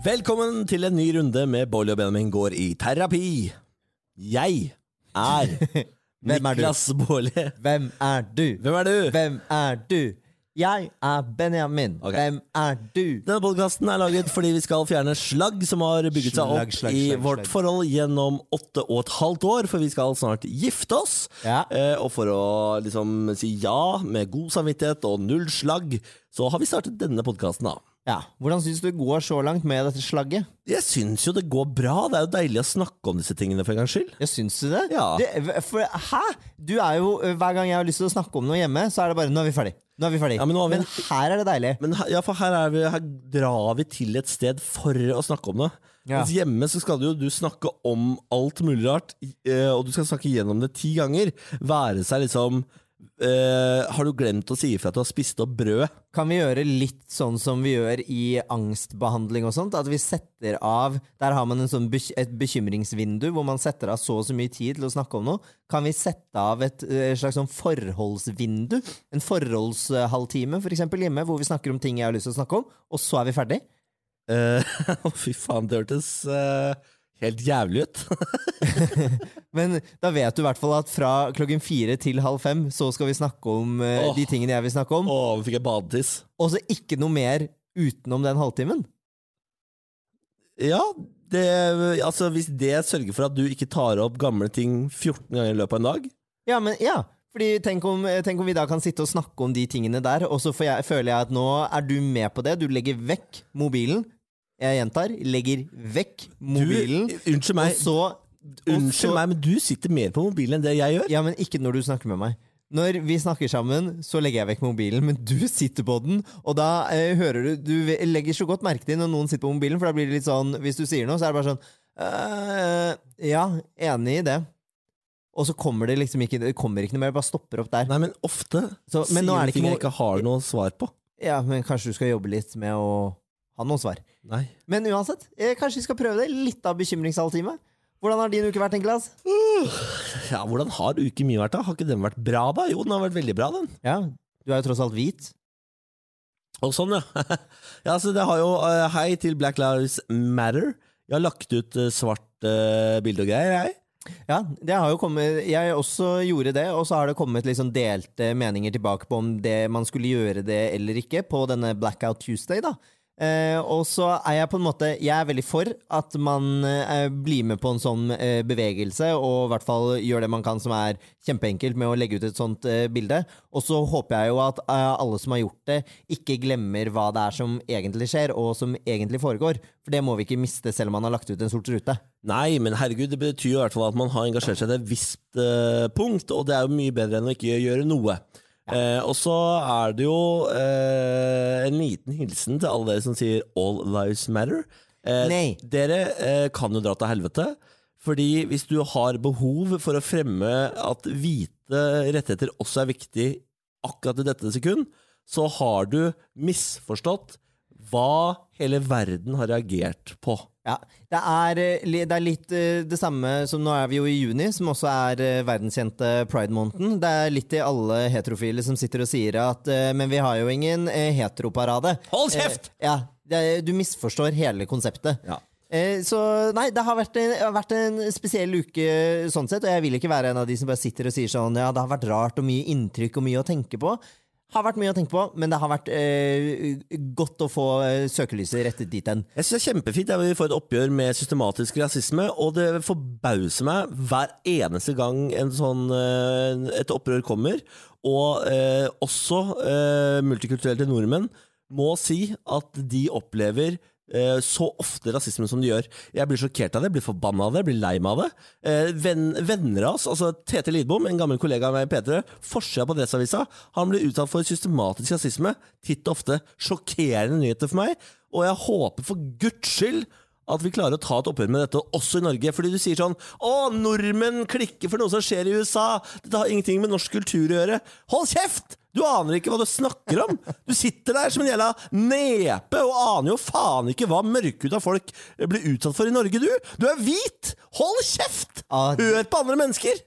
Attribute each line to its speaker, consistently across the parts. Speaker 1: Velkommen til en ny runde med Bolly og Benjamin går i terapi. Jeg er
Speaker 2: Hvem er du?
Speaker 1: Niklas Baarli.
Speaker 2: Hvem er du?
Speaker 1: Hvem er du?
Speaker 2: Hvem er du? Jeg er Benjamin.
Speaker 1: Ok.
Speaker 2: Hvem er du?
Speaker 1: Denne podkasten er laget fordi vi skal fjerne slagg som har bygget seg opp
Speaker 2: Slagg, slagg,
Speaker 1: i
Speaker 2: slagg,
Speaker 1: vårt
Speaker 2: slagg.
Speaker 1: forhold gjennom åtte og et halvt år, for vi skal snart gifte oss.
Speaker 2: Ja.
Speaker 1: Eh, og for å liksom si ja med god samvittighet og null slagg, så har vi startet denne podkasten, da.
Speaker 2: Ja. Hvordan syns du det går så langt med dette slagget?
Speaker 1: Jeg syns jo det går bra. Det er jo deilig å snakke om disse tingene for en gangs skyld.
Speaker 2: Jeg syns du det?
Speaker 1: Ja.
Speaker 2: det for, hæ? Du er jo, Hver gang jeg har lyst til å snakke om noe hjemme, så er det bare 'nå er vi ferdig'. Nå er vi ferdig.
Speaker 1: Ja, men nå har vi-
Speaker 2: her er det deilig.
Speaker 1: Men her, ja, for her, er vi, her drar vi til et sted for å snakke om det.
Speaker 2: Ja.
Speaker 1: Mens hjemme så skal du jo du snakke om alt mulig rart, eh, og du skal snakke gjennom det ti ganger. Være seg liksom eh, Har du glemt å si ifra at du har spist opp brødet?
Speaker 2: Kan vi gjøre litt sånn som vi gjør i angstbehandling og sånt? At vi setter av Der har man en sånn bek et bekymringsvindu hvor man setter av så og så mye tid til å snakke om noe. Kan vi sette av et eh, slags sånn forholdsvindu? En forholdshalvtime for eksempel hjemme, hvor vi snakker om ting jeg har lyst til å snakke om, og så er vi ferdig?
Speaker 1: Eh, Å, fy faen, det hørtes eh, helt jævlig ut.
Speaker 2: Men da vet du i hvert fall at fra klokken fire til halv fem så skal vi snakke om eh,
Speaker 1: Åh.
Speaker 2: de tingene jeg vil snakke om,
Speaker 1: Å, nå fikk jeg badetiss.
Speaker 2: og så ikke noe mer utenom den halvtimen.
Speaker 1: Ja, det, altså hvis det sørger for at du ikke tar opp gamle ting 14 ganger i løpet av en dag
Speaker 2: Ja, men ja. Fordi tenk om, eh, tenk om vi da kan sitte og snakke om de tingene der, og så får jeg, føler jeg at nå er du med på det. Du legger vekk mobilen. Jeg gjentar, legger vekk
Speaker 1: du,
Speaker 2: mobilen.
Speaker 1: Unnskyld
Speaker 2: og
Speaker 1: meg,
Speaker 2: så og
Speaker 1: Unnskyld
Speaker 2: så-
Speaker 1: meg, men du sitter mer på mobilen enn det jeg gjør.
Speaker 2: Ja, men ikke når du snakker med meg. Når vi snakker sammen, så legger jeg vekk mobilen, men du sitter på den, og da eh, hører du Du ve- legger så godt merke til når noen sitter på mobilen, for da blir det litt sånn Hvis du sier noe, så er det bare sånn eh, Ja, enig i det. Og så kommer det liksom ikke Det kommer ikke noe mer, det bare stopper opp der.
Speaker 1: Nei, men ofte
Speaker 2: Så- men nå
Speaker 1: sier du
Speaker 2: er det ikke
Speaker 1: ting jeg
Speaker 2: noe-
Speaker 1: ikke har noe svar på.
Speaker 2: Ja, men kanskje du skal jobbe litt med å ha noen svar.
Speaker 1: Nei.
Speaker 2: Men uansett, eh, kanskje vi skal prøve det. Litt av bekymringshalvtime. Hvordan har din uke vært, Niklas?
Speaker 1: Ja, Hvordan har uken min vært, da? Har ikke den vært bra, da? Jo, den har vært veldig bra, den.
Speaker 2: Ja, du er jo tross alt hvit.
Speaker 1: Og sånn, ja. ja så det har jo eh, Hei til Black Lives Matter. Jeg har lagt ut eh, svart eh, bilde og greier, jeg.
Speaker 2: Ja, det har jo kommet Jeg også gjorde det, og så har det kommet liksom delte meninger tilbake på om det man skulle gjøre det eller ikke på denne Blackout Tuesday, da. Eh, og så er jeg på en måte Jeg er veldig for at man eh, blir med på en sånn eh, bevegelse, og i hvert fall gjør det man kan som er kjempeenkelt med å legge ut et sånt eh, bilde. Og så håper jeg jo at eh, alle som har gjort det, ikke glemmer hva det er som egentlig skjer, og som egentlig foregår. For det må vi ikke miste selv om man har lagt ut en sort rute.
Speaker 1: Nei, men herregud, det betyr jo i hvert fall at man har engasjert seg til et visst eh, punkt, og det er jo mye bedre enn å ikke gjøre noe. Eh, og så er det jo eh, en liten hilsen til alle dere som sier 'all lives matter'. Eh,
Speaker 2: Nei.
Speaker 1: Dere eh, kan jo dra til helvete, fordi hvis du har behov for å fremme at hvite rettigheter også er viktig akkurat i dette sekund, så har du misforstått hva hele verden har reagert på.
Speaker 2: Ja, det er, eh, li- det er litt eh, det samme som nå er vi jo i juni, som også er eh, verdenskjente pride-måneden. Det er litt i alle heterofile som sitter og sier at eh, men vi har jo ingen eh, heteroparade.
Speaker 1: Hold kjeft!
Speaker 2: Eh, Ja, det, du misforstår hele konseptet.
Speaker 1: Ja.
Speaker 2: Eh, Så nei, det har vært, en, har vært en spesiell uke sånn sett, og jeg vil ikke være en av de som bare sitter og sier sånn ja, det har vært rart og mye inntrykk og mye å tenke på. Har vært mye å tenke på, men det har vært eh, godt å få eh, søkelyset rettet dit hen.
Speaker 1: Jeg synes det er kjempefint at vi får et oppgjør med systematisk rasisme, og det forbauser meg hver eneste gang en sånn, eh, et opprør kommer. Og eh, også eh, multikulturelle nordmenn må si at de opplever eh, så ofte rasisme som de gjør. Jeg blir sjokkert av det, blir forbanna av det, blir lei meg av det. Eh, venn, venner av oss, altså Tete Lidbom, en gammel kollega av meg i P3, forsida på Adresseavisa, han blir utsatt for systematisk rasisme titt og ofte. Sjokkerende nyheter for meg, og jeg håper for guds skyld at vi klarer å ta et oppgjør med dette også i Norge. Fordi du sier sånn Å, nordmenn klikker for noe som skjer i USA! Dette har ingenting med norsk kultur å gjøre. Hold kjeft! Du aner ikke hva du snakker om! Du sitter der som en jævla nepe og aner jo faen ikke hva mørkhuda folk blir utsatt for i Norge, du! Du er hvit! Hold kjeft!
Speaker 2: Ah,
Speaker 1: Hør på andre mennesker!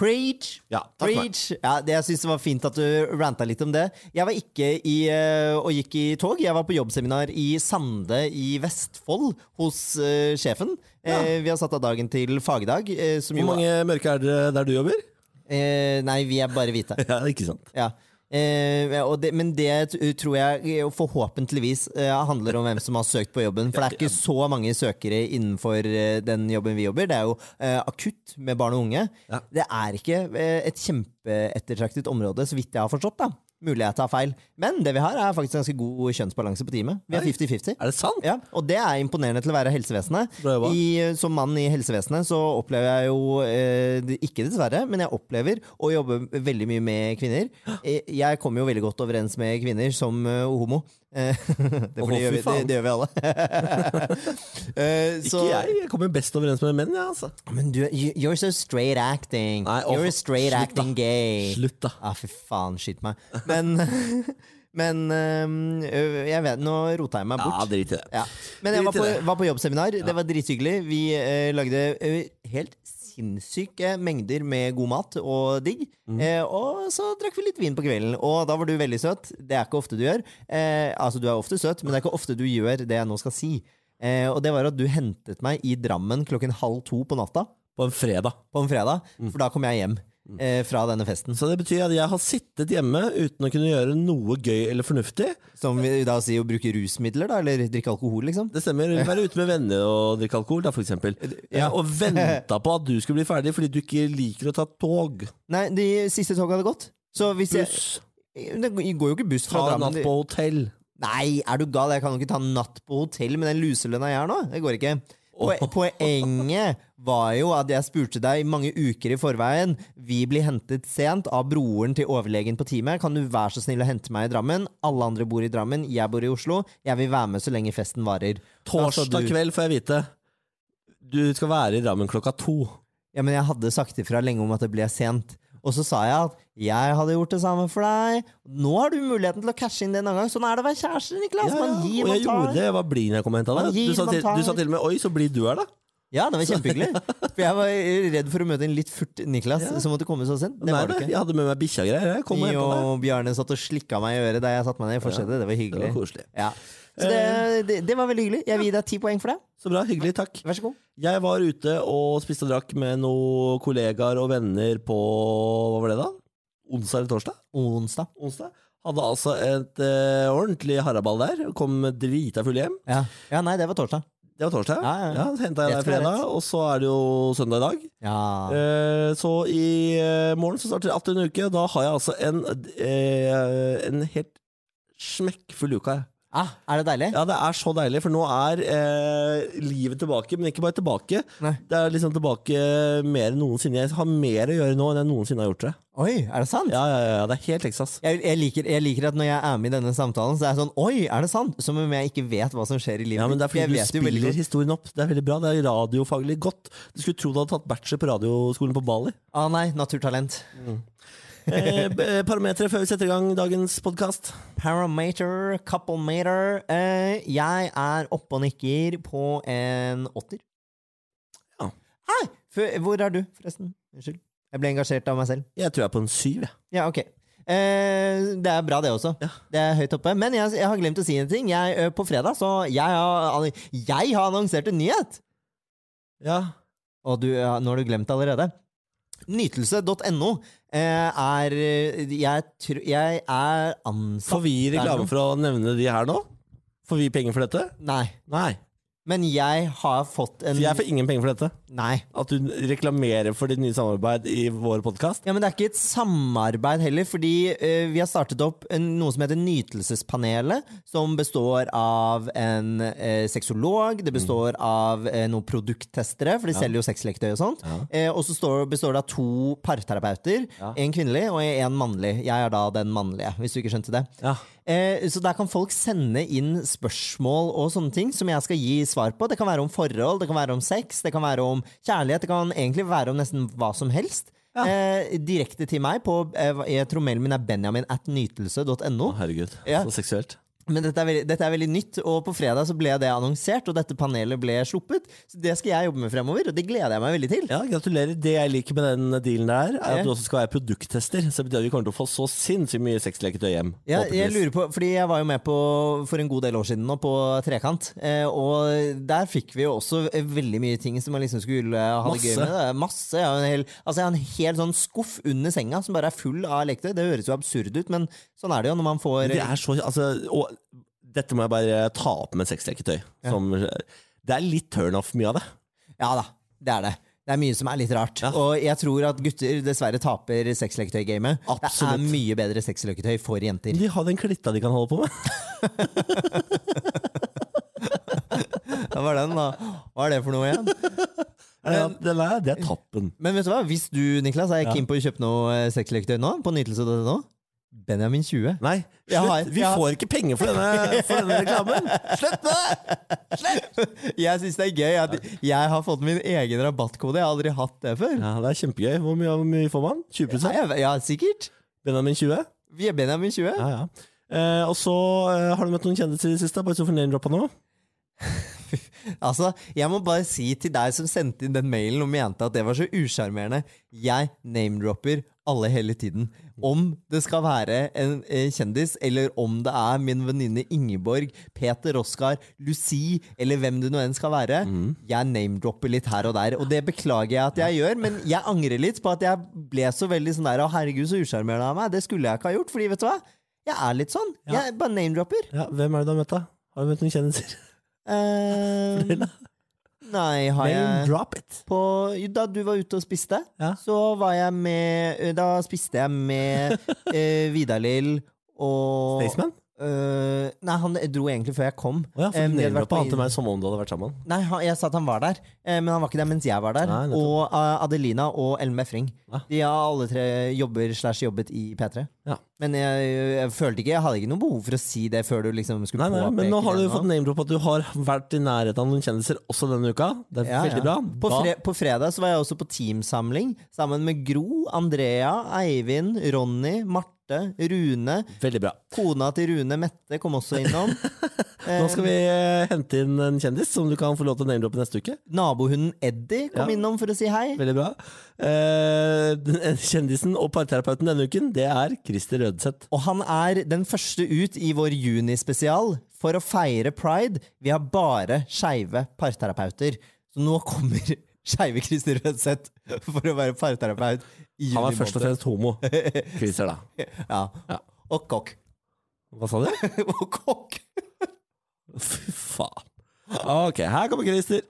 Speaker 2: Preach!
Speaker 1: Ja, takk for meg.
Speaker 2: Preach! Ja, det, jeg synes det var fint at du ranta litt om det. Jeg var ikke i, eh, og gikk i tog. Jeg var på jobbseminar i Sande i Vestfold hos eh, sjefen. Eh, vi har satt av dagen til fagdag. eh, som jo,
Speaker 1: Hvor mange mørke er det der du jobber?
Speaker 2: Eh, nei, vi er bare hvite.
Speaker 1: Ja, ikke sant.
Speaker 2: Ja. Eh, og det, men det t- tror jeg eh, forhåpentligvis eh, handler om hvem som har søkt på jobben. For det er ikke så mange søkere innenfor eh, den jobben vi jobber. Det er jo eh, akutt med barn og unge.
Speaker 1: Ja.
Speaker 2: Det er ikke eh, et kjempeettertraktet område, så vidt jeg har forstått. da Mulig jeg tar feil. Men det vi har, er faktisk ganske god kjønnsbalanse på teamet. Vi
Speaker 1: Oi.
Speaker 2: er 50-50.
Speaker 1: Er det sant?
Speaker 2: Ja, og det er imponerende til å være helsevesenet.
Speaker 1: Bra jobba.
Speaker 2: I, eh, som mann i helsevesenet så opplever jeg jo, eh, det- ikke dessverre, men jeg opplever å jobbe veldig mye med kvinner. Eh, Jeg kommer jo veldig godt overens med kvinner som eh, homo. Eh, det,
Speaker 1: Å,
Speaker 2: er fordi
Speaker 1: fy
Speaker 2: gjør vi, det,
Speaker 1: faen.
Speaker 2: det gjør vi alle. Eh,
Speaker 1: Ikke
Speaker 2: så-
Speaker 1: jeg. Jeg kommer best overens med menn, jeg, ja, altså.
Speaker 2: Men du, you- you're so straight acting.
Speaker 1: Nei, å,
Speaker 2: you're a straight
Speaker 1: slutt da.
Speaker 2: acting gay.
Speaker 1: Slutt, da.
Speaker 2: Ah, fy faen, skyt meg. Men, men eh, jeg vet, nå rota jeg meg bort.
Speaker 1: Ja, drit i det.
Speaker 2: Ja. Men jeg var
Speaker 1: Drit i
Speaker 2: på,
Speaker 1: det.
Speaker 2: var på jobbseminar. Det var drithyggelig. Vi eh, lagde eh, helt sinnssyke mengder med god mat og digg.
Speaker 1: Mm.
Speaker 2: Eh, og så drakk vi litt vin på kvelden, og da var du veldig søt. Det er ikke ofte du gjør. Eh, altså, du er ofte søt, men det er ikke ofte du gjør det jeg nå skal si. Eh, og det var at du hentet meg i Drammen klokken halv to på natta
Speaker 1: På en fredag.
Speaker 2: på en fredag, for da kom jeg hjem eh, fra denne festen.
Speaker 1: Mm. Så det betyr at jeg har sittet hjemme uten å kunne gjøre noe gøy eller fornuftig.
Speaker 2: Som vi da sier å bruke rusmidler, da, eller drikke alkohol, liksom.
Speaker 1: Det stemmer. Være ute med venner og drikke alkohol, da, for eksempel. Ja, og venta på at du skulle bli ferdig fordi du ikke liker å ta tog.
Speaker 2: Nei, de siste toga hadde gått. Så hvis jeg,
Speaker 1: Buss.
Speaker 2: Det går jo ikke buss fra
Speaker 1: Ta en
Speaker 2: Drammen.
Speaker 1: natt på hotell.
Speaker 2: Nei, er du gal? Jeg kan jo ikke ta en natt på hotell med den luselønna jeg har nå. Det går ikke. Poe- Poenget var jo at jeg spurte deg mange uker i forveien. Vi blir hentet sent av broren til overlegen på teamet. Kan du være så snill å hente meg i Drammen? Alle andre bor i Drammen, jeg bor i Oslo. Jeg vil være med så lenge festen varer. Da sa
Speaker 1: Torsdag
Speaker 2: du-
Speaker 1: kveld får jeg vite. Du skal være i Drammen klokka to.
Speaker 2: Ja, men jeg hadde sagt ifra lenge om at det ble sent. Og så sa jeg at jeg hadde gjort det samme for deg. Nå har du muligheten til å cashe inn det en annen gang. Sånn er det å være kjæreste, Niklas. Man gir,
Speaker 1: og
Speaker 2: man
Speaker 1: jeg
Speaker 2: tar.
Speaker 1: gjorde det. Jeg var blid når jeg kom og henta
Speaker 2: Man
Speaker 1: deg.
Speaker 2: gir,
Speaker 1: Du sa,
Speaker 2: man
Speaker 1: til, du sa
Speaker 2: tar.
Speaker 1: til og med 'oi, så blid du er', da.
Speaker 2: Ja, det var kjempehyggelig. For jeg var redd for å møte en litt furt Niklas som måtte komme så sent. Det
Speaker 1: Nei,
Speaker 2: var det
Speaker 1: Jeg
Speaker 2: ikke.
Speaker 1: hadde med meg bikkja og greier. Jeg kom og
Speaker 2: Jo,
Speaker 1: hentet deg.
Speaker 2: Bjarne satt og slikka meg i øret da jeg satte meg ned i forsetet. Det var hyggelig.
Speaker 1: Det var koselig. Eh.
Speaker 2: Ja. Så det, det, det var veldig hyggelig. Jeg vil gi deg ti poeng for det.
Speaker 1: Så bra. Hyggelig. Takk.
Speaker 2: Vær så god.
Speaker 1: Jeg var ute og spiste og drakk med noen kollegaer og venner på Hva var det, da? Onsdag eller torsdag?
Speaker 2: Onsdag.
Speaker 1: Onsdag. Hadde altså et eh, ordentlig haraball der. Kom drita full hjem.
Speaker 2: Ja. ja, nei, det var torsdag.
Speaker 1: Det var torsdag.
Speaker 2: Ja, ja, ja.
Speaker 1: Henta jeg
Speaker 2: Rett
Speaker 1: deg
Speaker 2: skal være
Speaker 1: fredag, og så er det jo søndag i dag.
Speaker 2: Ja.
Speaker 1: Eh, så i eh, morgen så starter 18. uke. Da har jeg altså en, eh, en helt smekkfull uke. jeg.
Speaker 2: Ah, er det deilig?
Speaker 1: Ja, det er så deilig, for nå er eh, livet tilbake, men ikke bare tilbake.
Speaker 2: Nei.
Speaker 1: Det er liksom tilbake mer enn noensinne. Jeg har mer å gjøre nå enn jeg noensinne har gjort det.
Speaker 2: Oi, er det sant?
Speaker 1: Ja, ja, ja, det er helt Texas.
Speaker 2: Jeg, jeg, liker, jeg liker at når jeg er med i denne samtalen, så er jeg sånn Oi, er det sant? Som om jeg ikke vet hva som skjer i livet.
Speaker 1: Ja, men det er
Speaker 2: mitt.
Speaker 1: fordi du
Speaker 2: Jeg vet jo veldig
Speaker 1: spiller
Speaker 2: godt.
Speaker 1: historien opp. Det er veldig bra. Det er radiofaglig godt. Du skulle tro du hadde tatt bachelor på radioskolen på Bali.
Speaker 2: Ah, nei, naturtalent.
Speaker 1: Eh, b- Parametre før vi setter i gang dagens podkast.
Speaker 2: Parameter, couple meter. Eh, jeg er oppe og nikker på en åtter.
Speaker 1: Ja.
Speaker 2: Hei! For, hvor er du, forresten? Unnskyld. Jeg ble engasjert av meg selv.
Speaker 1: Jeg tror jeg er på en syv, jeg.
Speaker 2: Ja, ok. Eh, det er bra, det også. Det er høyt oppe. Men jeg, jeg har glemt å si en ting. Jeg, ø, på fredag så jeg har, jeg har annonsert en nyhet!
Speaker 1: Ja.
Speaker 2: Og du, ja, nå har du glemt det allerede. Nytelse.no eh, er eh, jeg, tr jeg er ansatt
Speaker 1: Får vi reklame for å nevne de her nå? Får vi penger for dette?
Speaker 2: Nei.
Speaker 1: Nei.
Speaker 2: Men jeg har fått en
Speaker 1: Jeg får ingen penger for dette.
Speaker 2: Nei.
Speaker 1: At du reklamerer for ditt nye samarbeid i vår podkast.
Speaker 2: Ja, men det er ikke et samarbeid heller, fordi eh, vi har startet opp en, noe som heter Nytelsespanelet, som består av en uh, sexolog, det består av eh, noen produkttestere, for de selger jo sexleketøy og sånt, Eh, og så står, består det av to parterapeuter, en kvinnelig og en mannlig. Jeg er da den mannlige, hvis du ikke skjønte det.
Speaker 1: Ja.
Speaker 2: Eh, Så der kan folk sende inn spørsmål og sånne ting som jeg skal gi svar på. Det kan være om forhold, det kan være om sex, det kan være om kjærlighet. Det kan egentlig være om nesten hva som helst. Eh, direkte til meg på eh, hva- jeg tror mailen min er benjamin at nytelse.no.
Speaker 1: Herregud,
Speaker 2: Ja.
Speaker 1: så seksuelt.
Speaker 2: Men dette er, veldig, dette er veldig nytt, og på fredag så ble det annonsert, og dette panelet ble sluppet. Så det skal jeg jobbe med fremover, og det gleder jeg meg veldig til.
Speaker 1: Ja, Gratulerer. Det jeg liker med den dealen der, er
Speaker 2: Ja.
Speaker 1: at du også skal være produkttester. Så det betyr at vi kommer til å få så sinnssykt mye sexleketøy hjem.
Speaker 2: Ja, jeg
Speaker 1: forhåpentligvis.
Speaker 2: lurer på, fordi jeg var jo med på for en god del år siden nå på Trekant, eh, og der fikk vi jo også eh, veldig mye ting som man liksom skulle eh, ha det gøy
Speaker 1: Masse.
Speaker 2: med. Da. Masse. Jeg har en hel, altså jeg har en hel sånn skuff under senga som bare er full av leketøy. Det høres jo absurd ut, men sånn er det jo når man får
Speaker 1: Det er så altså, og, Dette må jeg bare ta opp med sexleketøy. Som, det er litt turnoff, mye av det.
Speaker 2: Ja da, det er det. Det er mye som er litt rart.
Speaker 1: Ja.
Speaker 2: Og jeg tror at gutter dessverre taper sexleketøygamet. Det er
Speaker 1: Absolutt.
Speaker 2: mye bedre sexleketøy for jenter.
Speaker 1: De har den klitta de kan holde på med.
Speaker 2: Hva var den, da? Hva er det for noe igjen?
Speaker 1: Ja, den er, det er tappen.
Speaker 2: Men vet du hva, hvis du Niklas, er keen på å kjøpe noe eh, sexleketøy nå, på nytelse.no Benjamin 20.
Speaker 1: Nei,
Speaker 2: Jeg har-
Speaker 1: slutt! Vi
Speaker 2: jeg har-
Speaker 1: får ikke penger for denne, for denne reklamen! Slutt med det!
Speaker 2: Jeg syns det er gøy at jeg har fått min egen rabattkode. Jeg har aldri hatt det før.
Speaker 1: Ja, Det er kjempegøy. Hvor mye, hvor mye får man? 20
Speaker 2: Ja, jeg, ja sikkert.
Speaker 1: Benjamin 20?
Speaker 2: Vi er Benjamin 20.
Speaker 1: Ja, ja. Eh, og så eh, Har du møtt noen kjendiser i det siste? Bare så for name-droppa nå.
Speaker 2: Altså, Jeg må bare si til deg som sendte inn den mailen og mente at det var så usjarmerende Jeg name-dropper alle hele tiden. Om det skal være en eh, kjendis, eller om det er min venninne Ingeborg, Peter Oskar, Lucie, eller hvem det nå enn skal være. Jeg name-dropper litt her og der, og det beklager jeg at jeg gjør, men jeg angrer litt på at jeg ble så veldig sånn der Å, herregud, så usjarmerende av meg. Det skulle jeg ikke ha gjort, fordi vet du hva? Jeg er litt sånn. Jeg bare name-dropper.
Speaker 1: Ja, hvem er det du har møtt, da? Har du møtt noen kjendiser?
Speaker 2: Eh, nei, har jeg
Speaker 1: Name-drop it!
Speaker 2: på, da du var ute og spiste,
Speaker 1: Ja.
Speaker 2: så var jeg med eh, Da spiste jeg med eh, Vidar-Lill og
Speaker 1: Staysman?
Speaker 2: Eh, nei, han dro egentlig før jeg kom.
Speaker 1: Å ja,
Speaker 2: Eh,
Speaker 1: for
Speaker 2: vi
Speaker 1: du
Speaker 2: hadde vært
Speaker 1: name-droppa
Speaker 2: på
Speaker 1: han til meg som om du hadde vært sammen.
Speaker 2: Nei, han, jeg sa at han var der, eh, men han var ikke der mens jeg var der.
Speaker 1: Nei, nettopp.
Speaker 2: og eh, Adelina og Ellen Befring.
Speaker 1: Ja.
Speaker 2: De har alle tre jobber slash jobbet i P3.
Speaker 1: Ja.
Speaker 2: Men jeg, jeg følte ikke Jeg hadde ikke noe behov for å si det før du liksom skulle
Speaker 1: Nei, nei,
Speaker 2: påpeke
Speaker 1: men nå har du
Speaker 2: det
Speaker 1: fått name-drop at du har vært i nærheten av noen kjendiser også denne uka. Det er
Speaker 2: Ja,
Speaker 1: veldig
Speaker 2: ja.
Speaker 1: bra.
Speaker 2: På,
Speaker 1: Da-
Speaker 2: fre på fredag så var jeg også på teamsamling sammen med Gro, Andrea, Eivind, Ronny, Marte, Rune.
Speaker 1: Veldig bra.
Speaker 2: Kona til Rune, Mette, kom også innom.
Speaker 1: Nå skal vi eh, hente inn en kjendis som du kan få lov til å name-droppe neste uke.
Speaker 2: Nabohunden Eddie kom
Speaker 1: Ja.
Speaker 2: innom for å si hei.
Speaker 1: Veldig bra. Eh, den- kjendisen og parterapeuten denne uken, det er Christer Rødseth.
Speaker 2: Og han er den første ut i vår junispesial for å feire pride. Vi har bare skeive parterapeuter. Så nå kommer skeive Kristin Rødseth for å være parterapeut i juni.
Speaker 1: Han er først og
Speaker 2: måned.
Speaker 1: fremst homo. Christer, da.
Speaker 2: Ja.
Speaker 1: Ja.
Speaker 2: Og kokk.
Speaker 1: Hva sa du?
Speaker 2: Og kokk.
Speaker 1: Fy faen. Ok, her kommer Christer.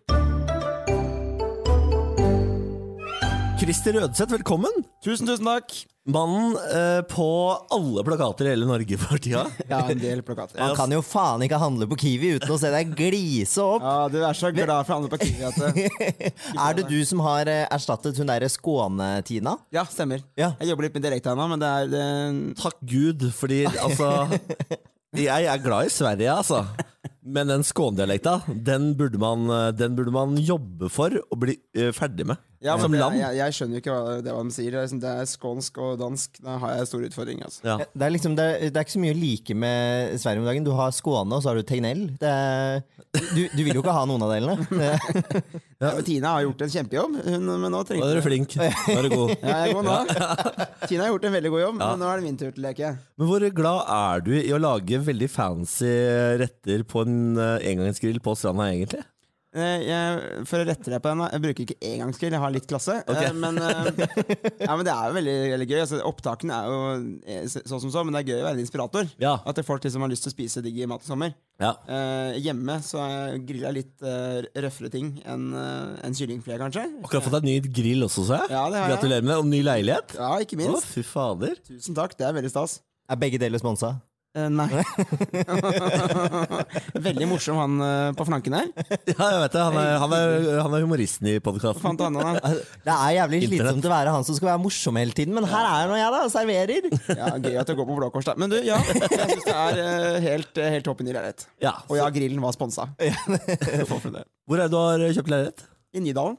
Speaker 1: Christer Rødseth, velkommen.
Speaker 3: Tusen, tusen takk.
Speaker 1: Mannen eh, på alle plakater i hele Norge for tida.
Speaker 3: Ja, en del plakater.
Speaker 1: altså.
Speaker 2: Man kan jo faen ikke handle på Kiwi uten å se deg glise opp.
Speaker 3: Ja, du er så glad for å handle på Kiwi at eh, det-
Speaker 2: Er det du som har eh, erstattet hun derre Skåne-Tina?
Speaker 3: Ja, stemmer.
Speaker 2: Ja.
Speaker 3: Jeg jobber litt med direkte ennå, men det er det-
Speaker 1: Takk Gud, fordi altså Jeg er glad i Sverige, altså. Men den skånedialekta, den, burde man- eh, den burde man jobbe for å bli eh, ferdig med
Speaker 3: ja, men
Speaker 1: som
Speaker 3: det,
Speaker 1: land.
Speaker 3: Jeg, jeg skjønner jo ikke hva, det, hva de sier. Det er liksom- Det er skånsk og dansk. Da har jeg store utfordringer. Altså.
Speaker 1: Ja.
Speaker 2: Det er, liksom, det, er, det er ikke så mye å like med Sverige om dagen. Du har Skåne, og så har du Tegnell. Det er, du, du vil jo ikke ha noen av delene. Det-
Speaker 3: Ja, men Tina har gjort en kjempejobb, hun, men nå
Speaker 1: Nå er
Speaker 3: trengte
Speaker 1: du flink. Nå er du god.
Speaker 3: ja, jeg går nå. Tina har gjort en veldig god jobb, men nå er det min tur til å leke.
Speaker 1: Men hvor glad er du i å lage veldig fancy retter på en eh, engangsgrill på stranda, egentlig?
Speaker 3: Eh, jeg, for å rette deg på den, da, jeg bruker ikke engangsgrill, jeg har litt klasse. Eh, men, eh, ja, men det er jo veldig, veldig gøy. Altså, opptakene er jo eh, så- sånn som så, men det er gøy å være en inspirator.
Speaker 1: Ja.
Speaker 3: At det er folk liksom har lyst til å spise digg mat i sommer.
Speaker 1: Ja.
Speaker 3: Eh, hjemme så jeg griller jeg litt eh, røffere ting enn eh, enn kyllingfilet, kanskje.
Speaker 1: Akkurat fått deg ny grill også, så jeg.
Speaker 3: Ja, det har jeg.
Speaker 1: Gratulerer med det, og ny leilighet.
Speaker 3: Ja,
Speaker 1: Å,
Speaker 3: ikke minst.
Speaker 1: fy fader.
Speaker 3: Tusen takk, det er veldig stas.
Speaker 2: Er begge deler sponsa?
Speaker 3: Eh, nei. veldig morsom han eh, på flanken her.
Speaker 1: Ja, jeg vet det. Han er, han er, han er humoristen i podkasten.
Speaker 3: Hva faen tar han da?
Speaker 2: Det er jævlig
Speaker 1: Internett.
Speaker 2: slitsomt å være han som skal være morsom hele tiden, men her er nå jeg, da, og serverer.
Speaker 3: Ja, gøy at det går på Blå Kors, da. Men du, ja. Jeg syns det er eh, helt, eh, helt topp i ny leilighet.
Speaker 1: Ja.
Speaker 3: Og ja, grillen var sponsa. Hvorfor det?
Speaker 1: Hvor er det du har kjøpt leilighet?
Speaker 3: I Nydalen.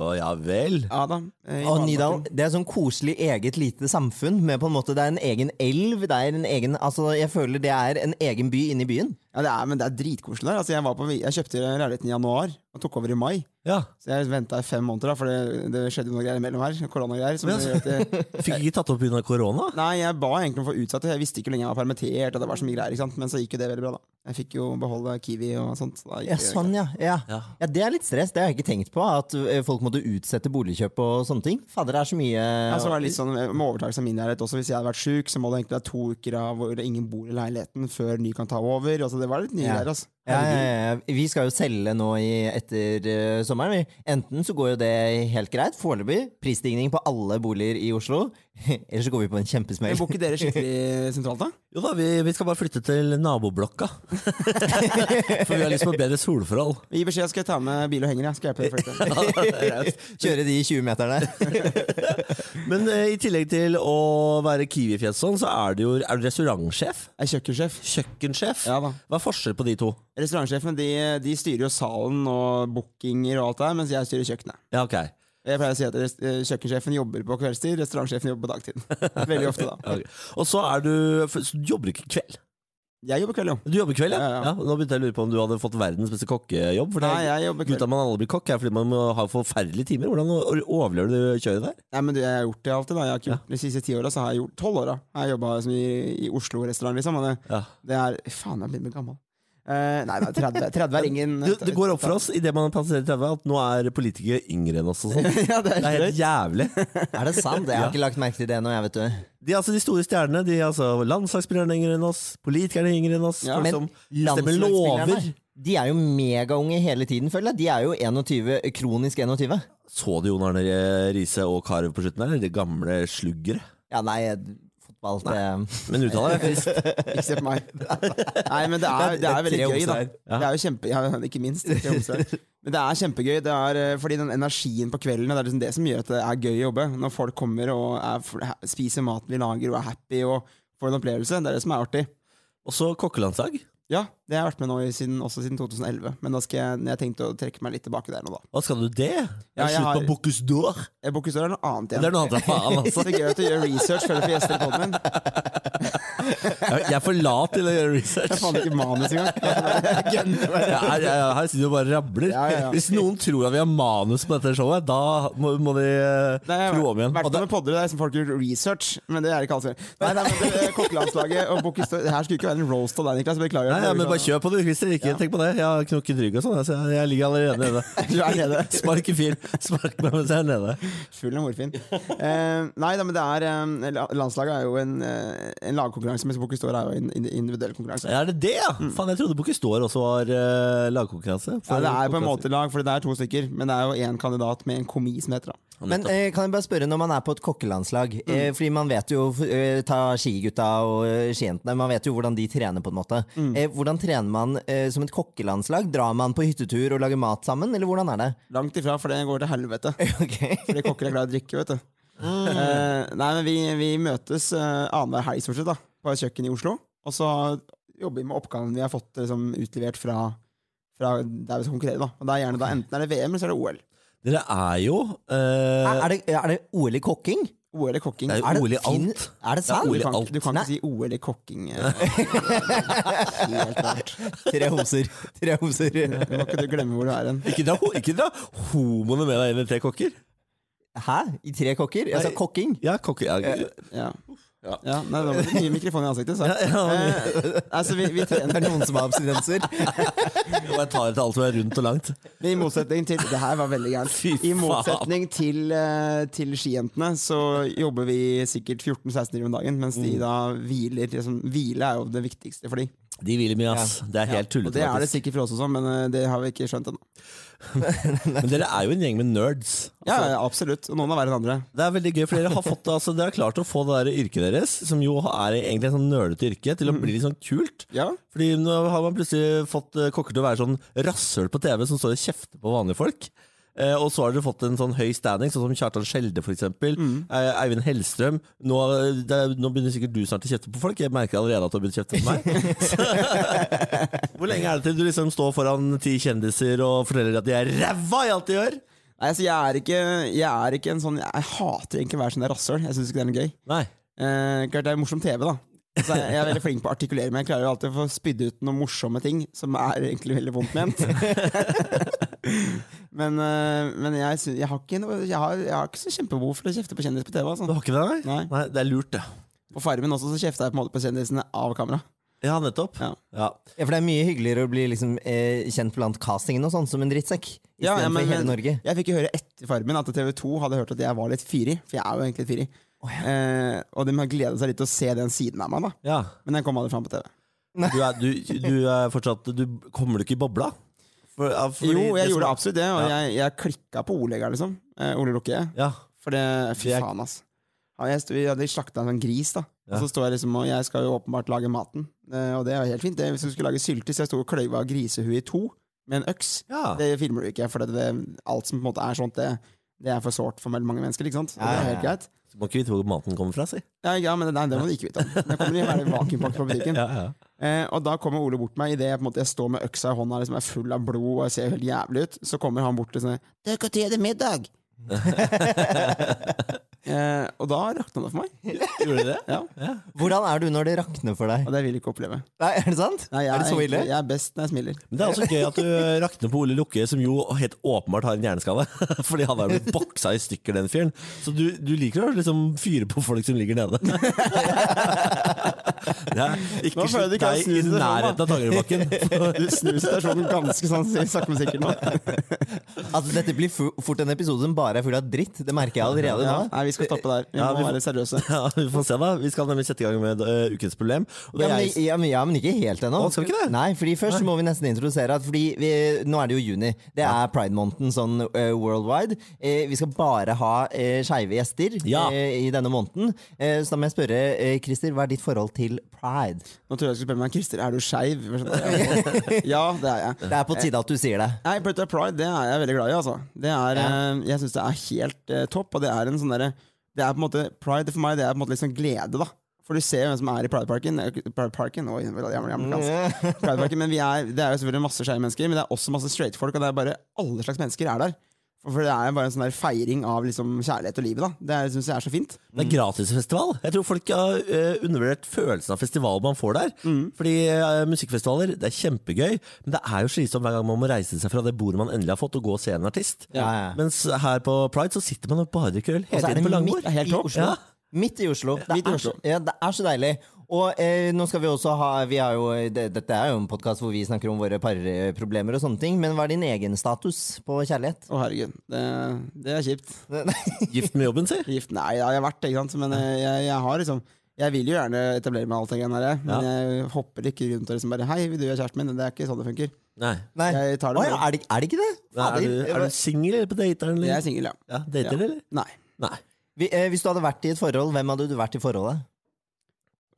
Speaker 1: Å ja vel.
Speaker 3: Ja da. eh, i
Speaker 2: Og
Speaker 3: Malbakken.
Speaker 2: Nydalen, det er sånn koselig eget lite samfunn med på en måte Det er en egen elv, det er en egen Altså, jeg føler det er en egen by inni byen.
Speaker 3: Ja, det er, men det er dritkoselig der. Altså, jeg, var på, jeg kjøpte leiligheten i januar og tok over i mai.
Speaker 1: Ja.
Speaker 3: Så jeg venta i fem måneder, da, for det, det skjedde noe greier imellom her. Koronagreier. Som gjør at jeg,
Speaker 1: Fikk ikke tatt opp pga. korona?
Speaker 3: nei, jeg ba egentlig om å få utsatt det. Jeg visste ikke hvor lenge jeg var permittert, og det var så mye greier. ikke sant? Men så gikk jo det veldig bra, da. Jeg fikk jo beholde Kiwi og sånt. så Da gikk
Speaker 2: Ja,
Speaker 3: det
Speaker 2: sånn, ja. ja.
Speaker 1: Ja.
Speaker 2: Ja, Det er litt stress, det har jeg ikke tenkt på. At eh, folk måtte utsette boligkjøp og sånne ting. Fader, det er så mye
Speaker 3: Ja, så var det litt sånn med overtakelse av min leilighet også. Hvis jeg hadde vært syk, så må det egentlig være to uker av hvor ingen bor i leiligheten før ny kan ta over. Altså, det var litt nye
Speaker 2: Ja.
Speaker 3: greier, altså.
Speaker 2: ja, ja, ja. Vi skal jo selge nå i, etter eh, sommeren. vi. Enten så går jo det helt greit, foreløpig, prisstigning på alle boliger i Oslo. Eller så går vi på en
Speaker 3: Men
Speaker 2: kjempesmell.
Speaker 3: Bor ikke dere skikkelig sentralt, da?
Speaker 1: Jo da, vi, vi skal bare flytte til naboblokka. For vi har lyst på bedre solforhold.
Speaker 3: Gi beskjed, skal jeg ta med bil og henger. Jeg skal hjelpe dere å flytte.
Speaker 2: Kjøre de 20-meterne.
Speaker 1: Men eh, i tillegg til å være kiwifjes sånn, så er du jo er du restaurantsjef.
Speaker 3: Jeg er kjøkkensjef.
Speaker 1: Kjøkkensjef.
Speaker 3: Ja da.
Speaker 1: Hva er forskjell på de to?
Speaker 3: Restaurantsjefene de, de styrer jo salen og bookinger og alt det der, mens jeg styrer kjøkkenet.
Speaker 1: Ja, ok.
Speaker 3: Jeg pleier å si at rest- eh, kjøkkensjefen jobber på kveldstid, restaurantsjefen jobber på dagtid. Veldig ofte, da.
Speaker 1: Ok. Og så er du for, så Du jobber ikke kveld?
Speaker 3: Jeg jobber kveld, jo.
Speaker 1: Du jobber kveld, ja?
Speaker 3: Ja, ja.
Speaker 1: ja. Nå begynte jeg å lure på om du hadde fått verdens beste kokkejobb. For det,
Speaker 3: Nei, jeg jobber kveld.
Speaker 1: Gutta man aldri blir kokk, er fordi man må ha forferdelige timer. Hvordan o- overlever du kjøret der?
Speaker 3: Nei, men du, jeg har gjort det alltid. da Jeg har ikke gjort De siste ti åra har jeg gjort tolv åra. Jeg har jobba i, i Oslo-restaurant, liksom. Og det,
Speaker 1: Ja.
Speaker 3: det er Faen, jeg blir gammel. Eh, nei, nei, 30, 30 er ingen
Speaker 1: Du, det går opp for oss idet man passerer 30 at nå er politikere yngre enn oss og sånn.
Speaker 3: ja,
Speaker 1: Det
Speaker 3: det er
Speaker 1: er
Speaker 3: helt
Speaker 1: helt jævlig.
Speaker 2: Er det sant? Jeg har ikke lagt merke til det nå, jeg, vet du.
Speaker 1: De, altså, de store stjernene, de altså landslagsspillerne er yngre enn oss, politikerne er yngre enn oss.
Speaker 3: Ja.
Speaker 1: folk
Speaker 2: Men
Speaker 1: som bestemmer lover.
Speaker 2: landslagsspillerne de er jo megaunge hele tiden, føler jeg. De er jo 21, kronisk 21.
Speaker 1: Så du Jon Arne Riise og Carew på slutten her? De gamle sluggere.
Speaker 2: Ja, nei, fotball det,
Speaker 1: Men uttaler er frist.
Speaker 3: Ikke se på meg. Nei, men det er, det er
Speaker 2: Det
Speaker 3: veldig
Speaker 2: er tre
Speaker 3: gøy, da.
Speaker 2: homser her.
Speaker 1: Ja.
Speaker 3: Det er jo kjempe... Ja, ikke minst. det er tre homser her. Men det er kjempegøy. Det er eh, fordi den energien på kvelden det er liksom det som gjør at det er gøy å jobbe. Når folk kommer og er, f- ha- spiser maten vi lager og er happy og får en opplevelse. Det er det som er artig.
Speaker 1: Og så kokkelandslag.
Speaker 3: Ja, det har jeg vært med nå i siden, også siden 2011. Men da skal jeg, jeg tenkte å trekke meg litt tilbake der nå, da.
Speaker 1: Hva skal du det?
Speaker 3: Ja,
Speaker 1: Er det
Speaker 3: jeg
Speaker 1: slutt
Speaker 3: har-
Speaker 1: på Bocuse d'Or?
Speaker 3: Jeg Bokusør er noe annet
Speaker 1: Det er
Speaker 3: igjen.
Speaker 1: noe annet enn faen,
Speaker 3: Så
Speaker 1: altså.
Speaker 3: det er gøy at du gjør research før du får gjester i poden min. Jeg
Speaker 1: Jeg jeg er for lat til å gjøre
Speaker 3: har
Speaker 1: research.
Speaker 3: faen ikke manus engang.
Speaker 1: Ja, Her, her, her sitter vi og bare rabler.
Speaker 3: Ja, ja, ja.
Speaker 1: Hvis noen tror at vi har manus på dette showet, da må, må de eh,
Speaker 3: Nei, jeg
Speaker 1: tro om
Speaker 3: har
Speaker 1: igjen.
Speaker 3: vært
Speaker 1: Og det,
Speaker 3: med podder der som folk gjør research, men det er ikke alt som gjør. Nei, nei, men det- Kokkelandslaget og Bokusør Det her skulle ikke være en roast av deg, Niklas. Beklager.
Speaker 1: nei, ja, men bare kjør på, du, Christer. Ikke tenk på det. Jeg har knukket rygg og sånn. Altså, jeg, jeg ligger allerede nede.
Speaker 3: Du er nede.
Speaker 1: Spark i fyr. Spark meg mens jeg er nede.
Speaker 3: Full av morfin. Eh, nei da, men det er eh, la- Landslaget er jo en, eh, en lagkonkurranse, mens Bokusør er jo en indi- individuell konkurranse.
Speaker 1: Er det det, ja? Faen, jeg trodde Bocuse d'Or også var eh, lagkonkurranse.
Speaker 3: Mm. Ja,
Speaker 1: For
Speaker 3: det er på en
Speaker 1: konkurranse.
Speaker 3: måte lag, for det er to stykker, men det er jo én kandidat med en komi som det heter. da
Speaker 2: Men eh, kan jeg bare spørre, når man er på et kokkelandslag
Speaker 3: Mm.
Speaker 2: eh, Fordi man vet jo, eh, ta skigutta og eh, skijentene, man vet jo hvordan de trener på en måte.
Speaker 3: Mm.
Speaker 2: Eh, hvordan trener man eh, som et kokkelandslag? Drar man på hyttetur og lager mat sammen, eller hvordan er det?
Speaker 3: Langt ifra, for det går til helvete.
Speaker 2: Ok.
Speaker 3: Fordi kokker er glad i å drikke, vet du. Eh, nei, men vi, vi møtes uh, annenhver helg, stort sett, da, på et kjøkken i Oslo. Og så jobber vi med oppgaven vi har fått liksom, utlevert fra, fra der vi skal konkurrere. Da. Og det er gjerne, da, enten er det VM, eller så er det OL.
Speaker 1: Dere er jo eh,
Speaker 2: Er, er, det, er det OL i kokking?
Speaker 3: OL i kokking.
Speaker 1: Det er jo
Speaker 3: Er
Speaker 1: OL i
Speaker 2: fin-
Speaker 1: alt.
Speaker 2: Er det
Speaker 1: Det er
Speaker 3: du
Speaker 1: OL i
Speaker 2: sant?
Speaker 3: kan,
Speaker 1: alt.
Speaker 3: du kan
Speaker 2: Nei.
Speaker 3: ikke si OL i kokking. eh. Helt rart.
Speaker 2: Tre homser. Tre homser.
Speaker 3: Må ikke du glemme hvor du er hen.
Speaker 1: Ikke dra, ikke dra homoene med deg inn i tre kokker.
Speaker 2: Hæ? I tre kokker? Jeg sa
Speaker 1: Nei.
Speaker 2: kokking.
Speaker 3: Eh,
Speaker 1: Ja, kokker ja.
Speaker 3: Ja. Ja, nei, det var mye mikrofon i ansiktet, så. Eh, altså, vi, vi
Speaker 2: Det
Speaker 3: trener
Speaker 2: er noen som har abstinenser.
Speaker 1: Jeg bare tar etter alt som er rundt og langt.
Speaker 3: Men i motsetning til Det her var veldig
Speaker 1: Fy
Speaker 3: gærent. I
Speaker 1: faen.
Speaker 3: motsetning til, eh, til skijentene så jobber vi sikkert 14-16 timer om dagen, mens de
Speaker 1: Mm.
Speaker 3: da hviler. Liksom, hvile er jo det viktigste for de.
Speaker 1: De hviler mye, ass. Det er helt
Speaker 3: Og
Speaker 1: tullete.
Speaker 3: det er det
Speaker 1: faktisk.
Speaker 3: sikkert for oss også, men eh, det har vi ikke skjønt ennå.
Speaker 1: Men dere er jo en gjeng med nerds.
Speaker 3: Ja, ja, Altså, absolutt. Og noen er verre enn andre.
Speaker 1: Det er veldig gøy, for dere har, fått, altså, dere har klart å få det der yrket deres, som jo er egentlig en sånn nerdete yrke, til å bli litt sånn kult.
Speaker 3: Ja.
Speaker 1: Fordi nå har man plutselig fått eh, kokker til å være sånn rasshøl på TV som står og kjefter på vanlige folk. Eh, og så har dere fått en sånn høy standing, sånn som Kjartan Skjelde f.eks. Mm. Eivind Hellstrøm. Nå, det, er- nå begynner sikkert du snart å kjefte på folk. Jeg merker allerede at du har begynt å kjefte på meg. Så- Hvor lenge er det til du liksom står foran ti kjendiser og forteller at de er ræva i alt de gjør?
Speaker 3: Nei, altså, jeg, er ikke, jeg er ikke en sånn Jeg hater egentlig å være sånn der rasshøl. Jeg syns ikke det er noe gøy.
Speaker 1: Nei.
Speaker 3: Eh, klart det er morsom TV, da. Så jeg jeg er veldig flink på å artikulere, men jeg klarer jo alltid å få spydd ut noen morsomme ting som er egentlig veldig vondt ment. men eh, men jeg, sy- jeg, har ikke noe, jeg, har, jeg har ikke så kjempebehov for å kjefte på kjendiser på TV.
Speaker 1: Du
Speaker 3: Altså.
Speaker 1: har ikke det, nei?
Speaker 3: Nei.
Speaker 1: nei? Det er lurt, det.
Speaker 3: På Farmen også så kjefta jeg på en måte på kjendisene av kamera.
Speaker 1: Ja, nettopp.
Speaker 3: Ja.
Speaker 1: Ja.
Speaker 2: Ja, for det er mye hyggeligere å bli liksom, eh, kjent blant castingen og sånn som en drittsekk. Istedenfor
Speaker 3: Ja, ja, men-
Speaker 2: hele
Speaker 3: men
Speaker 2: Norge.
Speaker 3: Jeg fikk jo høre etter Farmen at TV 2 hadde hørt at jeg var litt fyrig, for jeg er jo egentlig litt fyrig. eh, og de har gleda seg litt til å se den siden av meg, da.
Speaker 1: ja.
Speaker 3: Men jeg kom aldri fram på TV.
Speaker 1: Du, er, du, du er fortsatt Du kommer du ikke i bobla? For, ja, fordi
Speaker 3: jo, jeg
Speaker 1: det som-
Speaker 3: gjorde absolutt det, og
Speaker 1: Ja.
Speaker 3: jeg, jeg klikka på Olegger, liksom. Eh, Ole Lukke.
Speaker 1: Ja.
Speaker 3: For det, fy
Speaker 1: Det er-
Speaker 3: faen, ass. Ja, jeg sto, vi hadde slakta en sånn gris, da.
Speaker 1: Ja.
Speaker 3: Og så står jeg liksom, og jeg skal jo åpenbart lage maten. Eh, Og det er jo helt fint. Det, hvis du skulle lage sylte, så jeg sto og kløyva grisehuet i to med en øks.
Speaker 1: Ja.
Speaker 3: Det filmer du ikke, for det, det, alt som på en måte er sånt, det, det er for sårt for veldig mange mennesker. ikke sant? Og det
Speaker 2: Ja,
Speaker 3: er
Speaker 2: ja,
Speaker 3: helt greit.
Speaker 1: Så må ikke vite hvor maten kommer fra, si.
Speaker 3: Ja, ja men det, nei, det må du ikke vite om. Det kommer i å være vakuumpakket på butikken. Eh, og da kommer Ole bort til meg, idet jeg, på en måte, jeg står med øksa i hånda liksom, er full av blod og jeg ser helt jævlig ut, så kommer han bort og sier 'Det er når er det middag?' eh, og da rakna det for meg.
Speaker 1: Gjorde du det?
Speaker 3: Ja,
Speaker 2: Hvordan er du når det rakner for deg?
Speaker 3: Og det vil jeg ikke oppleve.
Speaker 2: Nei, er det sant?
Speaker 3: Nei, jeg,
Speaker 2: er det så
Speaker 3: egentlig-
Speaker 2: ille?
Speaker 3: Jeg er best når jeg smiler.
Speaker 1: Men det er også gøy at du rakner på Ole Lukke, som jo helt åpenbart har en hjerneskade. Fordi han har jo blitt boksa i stykker, den fyren. Så du, du liker å liksom fyre på folk som ligger nede. Det er ikke
Speaker 3: Nå føler jeg
Speaker 1: slutt
Speaker 3: du ikke har
Speaker 1: deg i
Speaker 3: snust deg sånn,
Speaker 1: nærheten
Speaker 3: da.
Speaker 1: av Tangerudbakken.
Speaker 3: Du snur situasjonen ganske sånn sakte, men sikkert nå.
Speaker 2: Altså, dette blir fu- fort en episode som bare er full av dritt. Det merker jeg allerede
Speaker 3: Ja,
Speaker 2: nå.
Speaker 3: nei, vi skal stoppe der. Vi
Speaker 1: Ja,
Speaker 3: må
Speaker 1: vi får-
Speaker 3: være seriøse.
Speaker 1: Ja, vi får se, da. Vi skal nemlig sette i gang med eh, ukens problem. Og
Speaker 2: Ja
Speaker 1: det
Speaker 2: men,
Speaker 1: er,
Speaker 2: ja, men, ja, men ikke helt ennå.
Speaker 1: Å, skal vi ikke det?
Speaker 2: Nei, fordi Først må vi nesten introdusere at fordi vi, nå er det jo juni. Det er pride-måneden sånn eh, worldwide. Eh, vi skal bare ha uh, skeive gjester
Speaker 1: Ja.
Speaker 2: eh, i denne måneden. Eh, så da må jeg spørre, eh, Christer, hva er ditt forhold til pride?
Speaker 3: Nå tror jeg jeg skulle spørre meg Christer, er du skeiv? Jeg skjønner. Ja, det er jeg.
Speaker 2: Det er på tide at du sier det.
Speaker 3: Nei, Pretty Pride det er jeg veldig glad i. altså Det er, eh, Jeg syns det er helt eh, topp. Og det er en sånn derre Det er på en måte Pride for meg det er på en måte liksom glede, da. For du ser jo hvem som er i Prideparken. Eh, Prideparken, oi, det var jævlig amerikansk. Prideparken, men vi er, Det er jo selvfølgelig masse skeive mennesker, men det er også masse straight folk. Og det er bare alle slags mennesker er der. For for det er jo bare en sånn der feiring av liksom kjærlighet og livet. da Det syns jeg er så fint.
Speaker 1: det er gratisfestival. Jeg tror folk har eh, undervurdert følelsen av festival man får der. Fordi eh, musikkfestivaler, det er kjempegøy, men det er jo slitsomt hver gang man må reise seg fra det bordet man endelig har fått, og gå og se en artist.
Speaker 2: Ja, ja.
Speaker 1: Mens her på Pride så sitter man og bare krøll
Speaker 2: Og så
Speaker 1: hele
Speaker 2: er det
Speaker 1: tiden på
Speaker 2: midt
Speaker 1: langbord.
Speaker 3: Det er helt
Speaker 2: i
Speaker 3: topp.
Speaker 2: Oslo.
Speaker 1: Ja.
Speaker 2: Midt i Oslo. Det,
Speaker 3: Midt i
Speaker 2: er,
Speaker 3: Oslo.
Speaker 2: Så, ja, det er så deilig. Og eh, nå skal vi også ha vi har jo, eh, det, Dette er jo en podkast hvor vi snakker om våre parproblemer og sånne ting, men hva er din egen status på kjærlighet?
Speaker 3: Å, herregud. Det, det er kjipt.
Speaker 1: Gift med jobben, si.
Speaker 3: Gift? Nei, det har jeg vært, ikke sant? men eh, jeg, jeg har liksom Jeg vil jo gjerne etablere meg, og alt det greiene her, jeg. men jeg hopper ikke rundt og liksom bare Hei, vil du være kjæresten min? Det er ikke sånn det funker.
Speaker 1: Nei.
Speaker 2: Nei.
Speaker 3: Jeg tar det
Speaker 2: Å ja,
Speaker 3: med.
Speaker 2: er, det, er det ikke det?
Speaker 1: Nei, Er du,
Speaker 2: Fader.
Speaker 1: er du singel eller på dateren?
Speaker 3: Jeg er
Speaker 1: Eller?
Speaker 3: singel, ja.
Speaker 1: Ja, dater,
Speaker 3: Ja.
Speaker 1: eller?
Speaker 3: Nei.
Speaker 1: Nei.
Speaker 2: Vi, eh, hvis du hadde vært i et forhold, hvem hadde du vært i forholdet?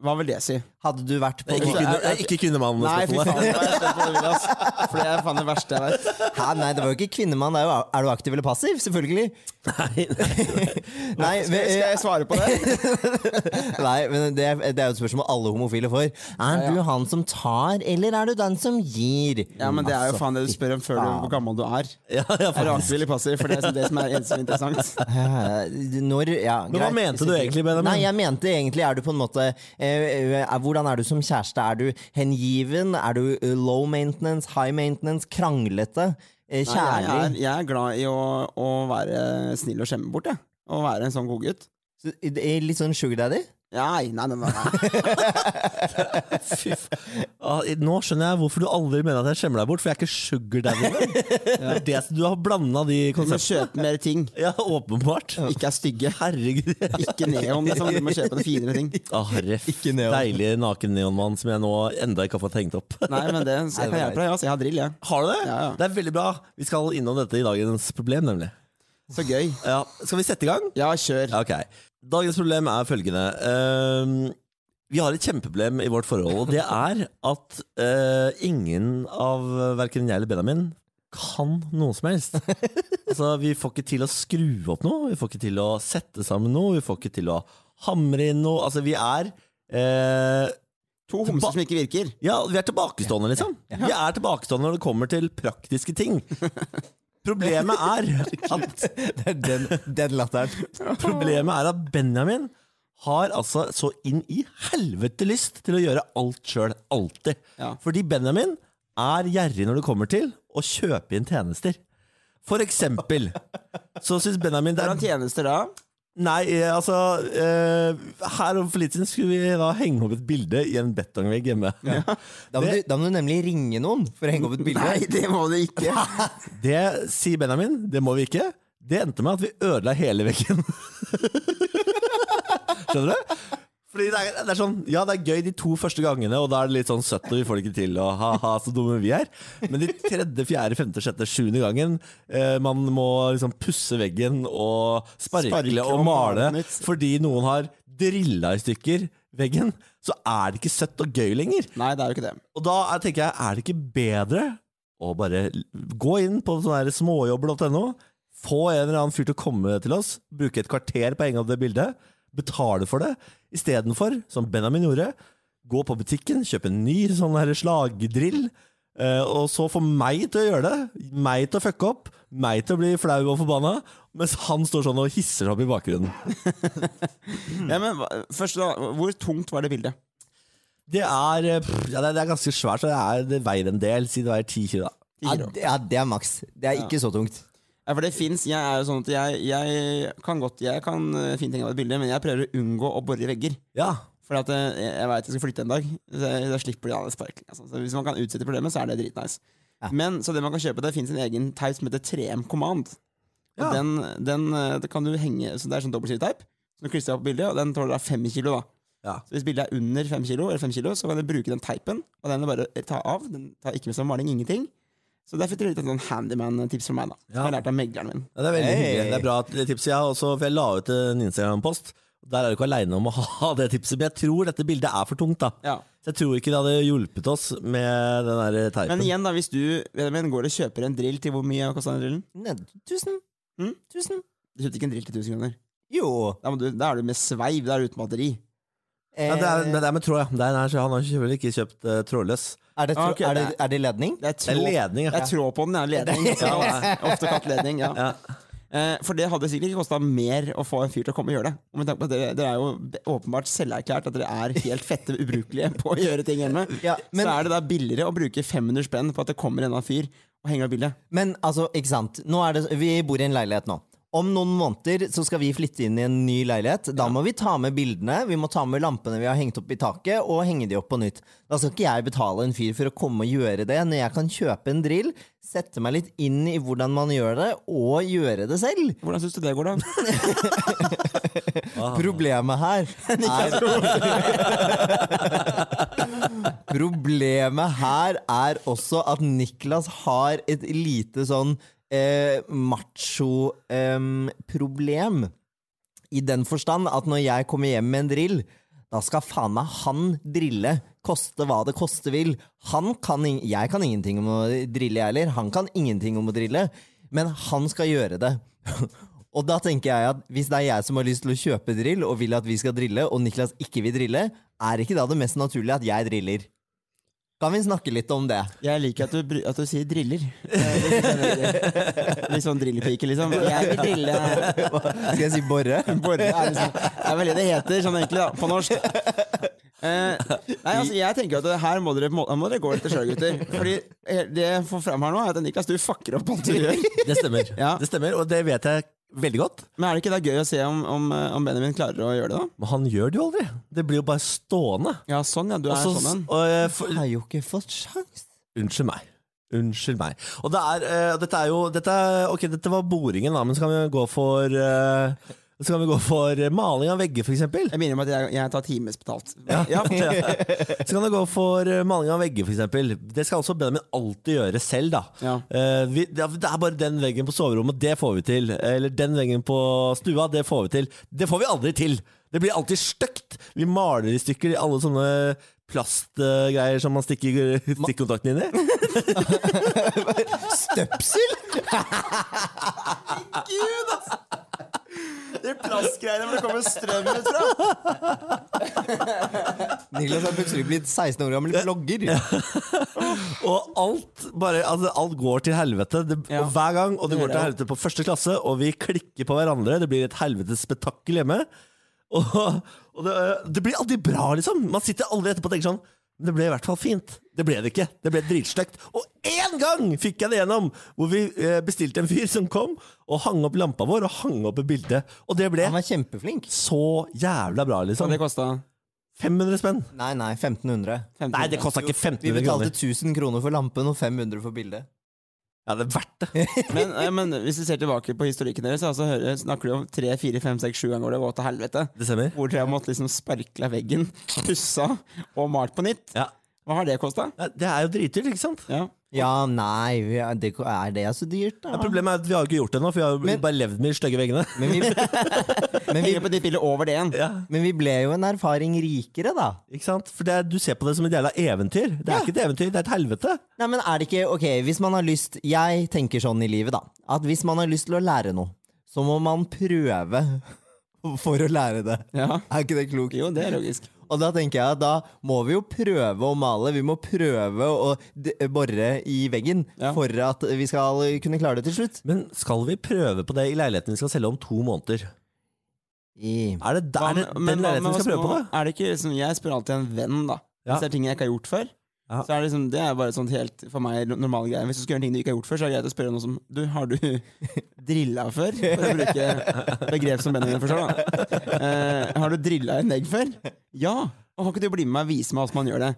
Speaker 3: Hva vil det si?
Speaker 2: Hadde du vært på
Speaker 1: Det er ikke, kvinne, det er ikke
Speaker 3: Nei, fy
Speaker 1: kvinnemann-spørsmålet.
Speaker 3: faen. det var jeg slett på det ville, ass. For det er faen det verste jeg vet.
Speaker 2: Hæ, nei, det var jo ikke kvinnemann. Det er, jo, er du aktiv eller passiv? Selvfølgelig.
Speaker 1: Nei, nei.
Speaker 2: Nei,
Speaker 3: Skal jeg- skal jeg svare på det?
Speaker 2: nei men det, det er jo et spørsmål alle homofile får. Er du han som tar, eller er du den som gir?
Speaker 3: Ja, men det er jo
Speaker 2: Altså,
Speaker 3: faen det du spør om før du hvor gammel du er.
Speaker 1: Ja, ja,
Speaker 3: Er du
Speaker 1: faktisk.
Speaker 3: aktiv eller passiv? For det er liksom det som er eneste som er interessant.
Speaker 2: Eh, Når, ja,
Speaker 1: Men hva
Speaker 2: greit.
Speaker 1: mente du egentlig, Benjamin?
Speaker 2: Nei, jeg mente egentlig er du på en måte eh, eh, Hvordan er du som kjæreste? Er du hengiven? Er du eh, low maintenance, high maintenance, kranglete, eh,
Speaker 3: Nei, jeg, er,
Speaker 2: kjærlig?
Speaker 3: jeg er glad i å, å være snill og skjemme bort, jeg. Å være en sånn godgutt.
Speaker 2: Så, eh, Litt sånn sugar daddy?
Speaker 3: Nei, nei, nei, nei.
Speaker 1: Fy faen. Ah, Nå skjønner jeg hvorfor du aldri mener at jeg skjemmer deg bort, for jeg er ikke sugar daddy. Det er det som du har blanda de
Speaker 3: Du må
Speaker 1: konseptene.
Speaker 3: kjøpe mer ting.
Speaker 1: Ja, åpenbart.
Speaker 3: Ikke er stygge.
Speaker 1: Herregud.
Speaker 3: Ikke neon, liksom. Du må kjøpe noen finere ting.
Speaker 1: Ah, ref.
Speaker 2: Ikke neon.
Speaker 1: Deilig naken neonmann som jeg nå enda ikke har fått hengt opp.
Speaker 3: Nei, men det jeg kan hjelpe deg. Altså. Jeg har drill, jeg.
Speaker 1: Har du det?
Speaker 3: Ja, ja.
Speaker 1: Det er veldig bra. Vi skal innom dette i dagens problem, nemlig.
Speaker 3: Så gøy.
Speaker 1: Ja, skal vi sette i gang?
Speaker 3: Ja, kjør.
Speaker 1: Ja, Ok. Dagens problem er følgende. Ehm, vi har et kjempeproblem i vårt forhold, og det er at eh, ingen av verken jeg eller Benjamin kan noe som helst. Altså, vi får ikke til å skru opp noe, vi får ikke til å sette sammen noe, vi får ikke til å hamre inn noe. Altså, vi er eh,
Speaker 3: To homser som ikke virker.
Speaker 1: ja, vi er tilbakestående, liksom. Vi er tilbakestående når det kommer til praktiske ting. Problemet er at,
Speaker 2: Det er den, den latteren.
Speaker 1: problemet er at Benjamin har altså så inn i helvete lyst til å gjøre alt sjøl, alltid.
Speaker 3: Ja.
Speaker 1: Fordi Benjamin er gjerrig når det kommer til å kjøpe inn tjenester. For eksempel så syns Benjamin det er
Speaker 3: Hvordan tjenester da?
Speaker 1: Nei, eh, altså eh, Her om for litt siden skulle vi da henge opp et bilde i en betongvegg hjemme.
Speaker 2: Da må, du, da må du nemlig ringe noen for å henge opp et bilde.
Speaker 3: Nei, det må du ikke.
Speaker 1: Det sier Benjamin, det må vi ikke. Det endte med at vi ødela hele veggen. Skjønner du? Fordi det er, det er sånn, Ja, det er gøy de to første gangene, og da er det litt sånn søtt, og vi får det ikke til, og ha-ha, så dumme vi er. Men de tredje, fjerde, femte, sjette, sjuende gangen eh, man må liksom pusse veggen og sparkle,
Speaker 3: Sparkle
Speaker 1: og,
Speaker 3: og
Speaker 1: male
Speaker 3: male nytt.
Speaker 1: fordi noen har drilla i stykker veggen, så er det ikke søtt og gøy lenger.
Speaker 3: Nei, det er jo ikke det.
Speaker 1: Og da er- tenker jeg, er det ikke bedre å bare l- gå inn på sånn her småjobb.no, få en eller annen fyr til å komme til oss, bruke et kvarter på å henge opp det bildet, betale for det, istedenfor, som Benjamin gjorde, gå på butikken, kjøpe en ny sånn her slagdrill, eh, og så få meg til å gjøre det, meg til å fucke opp, meg til å bli flau og forbanna, mens han står sånn og hisser seg opp i bakgrunnen.
Speaker 3: Ja, men hva- først da, Hvor tungt var det bildet?
Speaker 1: Det er, eh, pff, ja, det er det er ganske svært, så det, er, det veier en del, si det veier ti kilo. da.
Speaker 2: Ja, det- ja, det er maks. Det er ikke så tungt.
Speaker 3: Ja, for det finnes, Jeg er jo sånn at jeg, jeg kan godt Jeg kan eh, fint henge opp et bilde, men jeg prøver å unngå å bore i vegger.
Speaker 1: Ja,
Speaker 3: For at eh, jeg, jeg veit jeg skal flytte en dag. Så jeg, da slipper de alle sparkene. Altså. Så hvis man kan utsette problemet, så er det dritnice. Men så det man kan kjøpe, det fins en egen teip som heter 3M Command. Og
Speaker 1: Ja.
Speaker 3: den, den eh, det kan du henge Så Det er sånn dobbeltsidig teip. Så du klistrer opp bildet, og den tåler da fem kilo. da
Speaker 1: Ja.
Speaker 3: Så Hvis bildet er under fem kilo, eller fem kilo, så kan du bruke den teipen. Og den er bare å ta av. Den tar ikke med seg maling, ingenting. Så derfor tror jeg det er litt sånn handyman-tips fra meg. da Som
Speaker 1: Ja.
Speaker 3: Jeg har lært av megleren min.
Speaker 1: Ja, det er veldig
Speaker 2: Hey.
Speaker 1: hyggelig. Det er bra at- det tipset jeg har også, for jeg la ut en Instagram-post. Der er du ikke aleine om å ha det tipset, men jeg tror dette bildet er for tungt. da.
Speaker 3: Ja.
Speaker 1: Så jeg tror ikke det hadde hjulpet oss med den der teipen.
Speaker 3: Men igjen, da, hvis du Benjamin, går og kjøper en drill til hvor mye kosta den drillen?
Speaker 2: Nei, tusen.
Speaker 3: Mm.
Speaker 2: Tusen.
Speaker 3: Du kjøpte ikke en drill til 1000 kroner.
Speaker 2: Jo.
Speaker 3: Da, må du, da er du med sveiv, da er du uten batteri.
Speaker 2: Eh,
Speaker 1: ja, det, er, men det er med tråd, ja. Det er, nei, så han har selvfølgelig ikke kjøpt eh, trådløs.
Speaker 2: er, det, tro-
Speaker 3: Ok,
Speaker 2: er, det,
Speaker 3: det
Speaker 2: er det ledning?
Speaker 3: Det er
Speaker 1: Det er
Speaker 3: tråd,
Speaker 1: ledning,
Speaker 3: det
Speaker 1: ja.
Speaker 3: er tråd på den, ja. Ledning. Ja, det er ofte kalt ledning. Ja.
Speaker 1: Ja.
Speaker 3: Eh, for det hadde sikkert ikke kosta mer å få en fyr til å komme og gjøre det. Og Med tanke på at dere, dere er jo be- åpenbart selverklært at dere er helt fette ubrukelige på å gjøre ting hjemme.
Speaker 2: Ja, men-
Speaker 3: Så er det da billigere å bruke 500 spenn på at det kommer en eller annen fyr og henger opp bildet.
Speaker 2: Men altså, ikke sant. Nå er det, vi bor i en leilighet nå. Om noen måneder så skal vi flytte inn i en ny leilighet. Da må vi ta med bildene, vi må ta med lampene vi har hengt opp i taket, og henge de opp på nytt. Da skal ikke jeg betale en fyr for å komme og gjøre det, når jeg kan kjøpe en drill, sette meg litt inn i hvordan man gjør det, og gjøre det selv.
Speaker 3: Hvordan syns du det går, da?
Speaker 2: Problemet her er Problemet her er også at Niklas har et lite sånn eh, macho-problem. I den forstand at når jeg kommer hjem med en drill, da skal faen meg han drille. Koste hva det koste vil. Han kan ing jeg kan ingenting om å drille, jeg heller. Han kan ingenting om å drille. Men han skal gjøre det. og da tenker jeg at hvis det er jeg som har lyst til å kjøpe drill, og vil at vi skal drille, og Niklas ikke vil drille, er ikke da det mest naturlige at jeg driller? Kan vi snakke litt om det?
Speaker 3: Jeg liker at du, bru- at du sier driller. Eh, Litt sånn drillepike, liksom. Jeg vil drille.
Speaker 2: Skal jeg si borre?
Speaker 3: Borre er liksom Det er vel det det heter, sånn egentlig, da, på norsk. Eh, nei, altså, jeg tenker at det her må dere, må, her må dere gå etter sjøl, gutter. Fordi eh, det jeg får fram her nå, er at Niklas, du fucker opp alt du gjør.
Speaker 1: Det stemmer.
Speaker 3: Ja.
Speaker 1: det stemmer. Og det vet jeg veldig godt.
Speaker 3: Men er det ikke da gøy å se om, om, eh, om Benjamin klarer å gjøre det, da?
Speaker 1: Men han gjør det jo aldri. Det blir jo bare stående.
Speaker 3: Ja, sånn, ja. Du er
Speaker 1: Og så-
Speaker 3: sånn en.
Speaker 1: og, eh, for,
Speaker 2: Jeg har jo ikke fått sjans.
Speaker 1: Unnskyld meg. Unnskyld meg. Og det er, eh, dette er jo dette er, Ok, dette var boringen, da, men så kan vi gå for eh, Så kan vi gå for eh, maling av vegger, for eksempel.
Speaker 3: Jeg minner om at jeg, jeg tar times betalt.
Speaker 1: Ja. Så kan det gå for eh, maling av vegger, for eksempel. Det skal altså Benjamin alltid gjøre selv, da.
Speaker 3: Ja.
Speaker 1: Eh, vi, det er det er bare den veggen på soverommet, det får vi til. Eller den veggen på stua, det får vi til. Det får vi aldri til! Det blir alltid stygt! Vi maler i stykker i alle sånne plastgreier som man stikker stikkontakten inn i.
Speaker 2: Støpsel!
Speaker 3: Det er plastgreiene hvor det kommer strøm ut fra!
Speaker 2: Niklas har plutselig blitt 16 år gammel blogger.
Speaker 1: Og alt, bare, altså, alt går til helvete det,
Speaker 3: Ja.
Speaker 1: og hver gang, og det går
Speaker 3: gjør det,
Speaker 1: til
Speaker 3: ja.
Speaker 1: helvete på første klasse, og vi klikker på hverandre. Det blir et helvetes spetakkel hjemme. Og, og det, det blir alltid bra, liksom. Man sitter aldri etterpå og tenker sånn Det ble i hvert fall fint. Det ble det ikke. Det ble dritstygt. Og én gang fikk jeg det gjennom! Hvor vi eh, bestilte en fyr som kom og hang opp lampa vår og hang opp et bilde. Og det ble
Speaker 2: Han var kjempeflink.
Speaker 1: så jævla bra,
Speaker 3: Så
Speaker 1: liksom.
Speaker 3: Sånn, det kosta
Speaker 1: 500 spenn.
Speaker 2: Nei, nei, 1500.
Speaker 1: Nei, det kosta ikke
Speaker 2: Vi
Speaker 1: 1500
Speaker 2: betalte
Speaker 1: kroner.
Speaker 2: 1000 kroner for lampen og 500 for bildet.
Speaker 1: Ja, det er verdt det.
Speaker 3: Men, eh, men hvis du ser tilbake på historikken deres, altså, hører, snakker du om tre, fire, fem, seks, sju ganger hvor det var til helvete.
Speaker 1: Det stemmer.
Speaker 3: Hvor dere har måttet liksom sparkle av veggen, pussa og malt på nytt.
Speaker 1: Ja.
Speaker 3: Hva har det kosta?
Speaker 1: Nei, Det er jo dritdyrt, ikke sant?
Speaker 3: Ja.
Speaker 2: Ja, nei, vi er det er det så dyrt, da?
Speaker 1: Problemet er at vi har jo ikke gjort det ennå, for vi har jo
Speaker 2: Men-
Speaker 1: bare levd med de stygge veggene.
Speaker 2: Men vi, men, vi,
Speaker 3: Henger på de piller over det igjen.
Speaker 1: Ja,
Speaker 2: men vi ble jo en erfaring rikere, da.
Speaker 1: ikke sant? For det, er- du ser på det som et jævla eventyr. Det er ikke et eventyr, det er et helvete.
Speaker 2: Nei, men er det ikke, ok, hvis man har lyst, jeg tenker sånn i livet da, at hvis man har lyst til å lære noe, så må man prøve for å lære det.
Speaker 3: Ja.
Speaker 2: Er ikke det klokt?
Speaker 3: Jo, det er logisk.
Speaker 2: Og da tenker jeg at da må vi jo prøve å male, vi må prøve å d- borre i veggen
Speaker 3: Ja.
Speaker 2: for at vi skal kunne klare det til slutt.
Speaker 1: Men skal vi prøve på det i leiligheten vi skal selge om to måneder?
Speaker 2: I.
Speaker 1: Er det der
Speaker 3: Hva med-
Speaker 1: den
Speaker 3: hva
Speaker 1: leiligheten
Speaker 3: med
Speaker 1: vi skal
Speaker 3: oss
Speaker 1: prøve på?
Speaker 3: nå? Er det ikke, liksom, jeg spør alltid en venn, da.
Speaker 1: Ja.
Speaker 3: Hvis det er ting jeg ikke har gjort før.
Speaker 1: Ja.
Speaker 3: Så er det, liksom, det er bare sånn helt for meg normale greier. Hvis du skal gjøre ting du ikke har gjort før, så er det greit å spørre noe som du, Har du drilla før? For å bruke begrep som Benjamin forstår, da. Eh, har du drilla en egg før? Ja! Og kan ikke du bli med meg og vise meg hvordan man gjør det?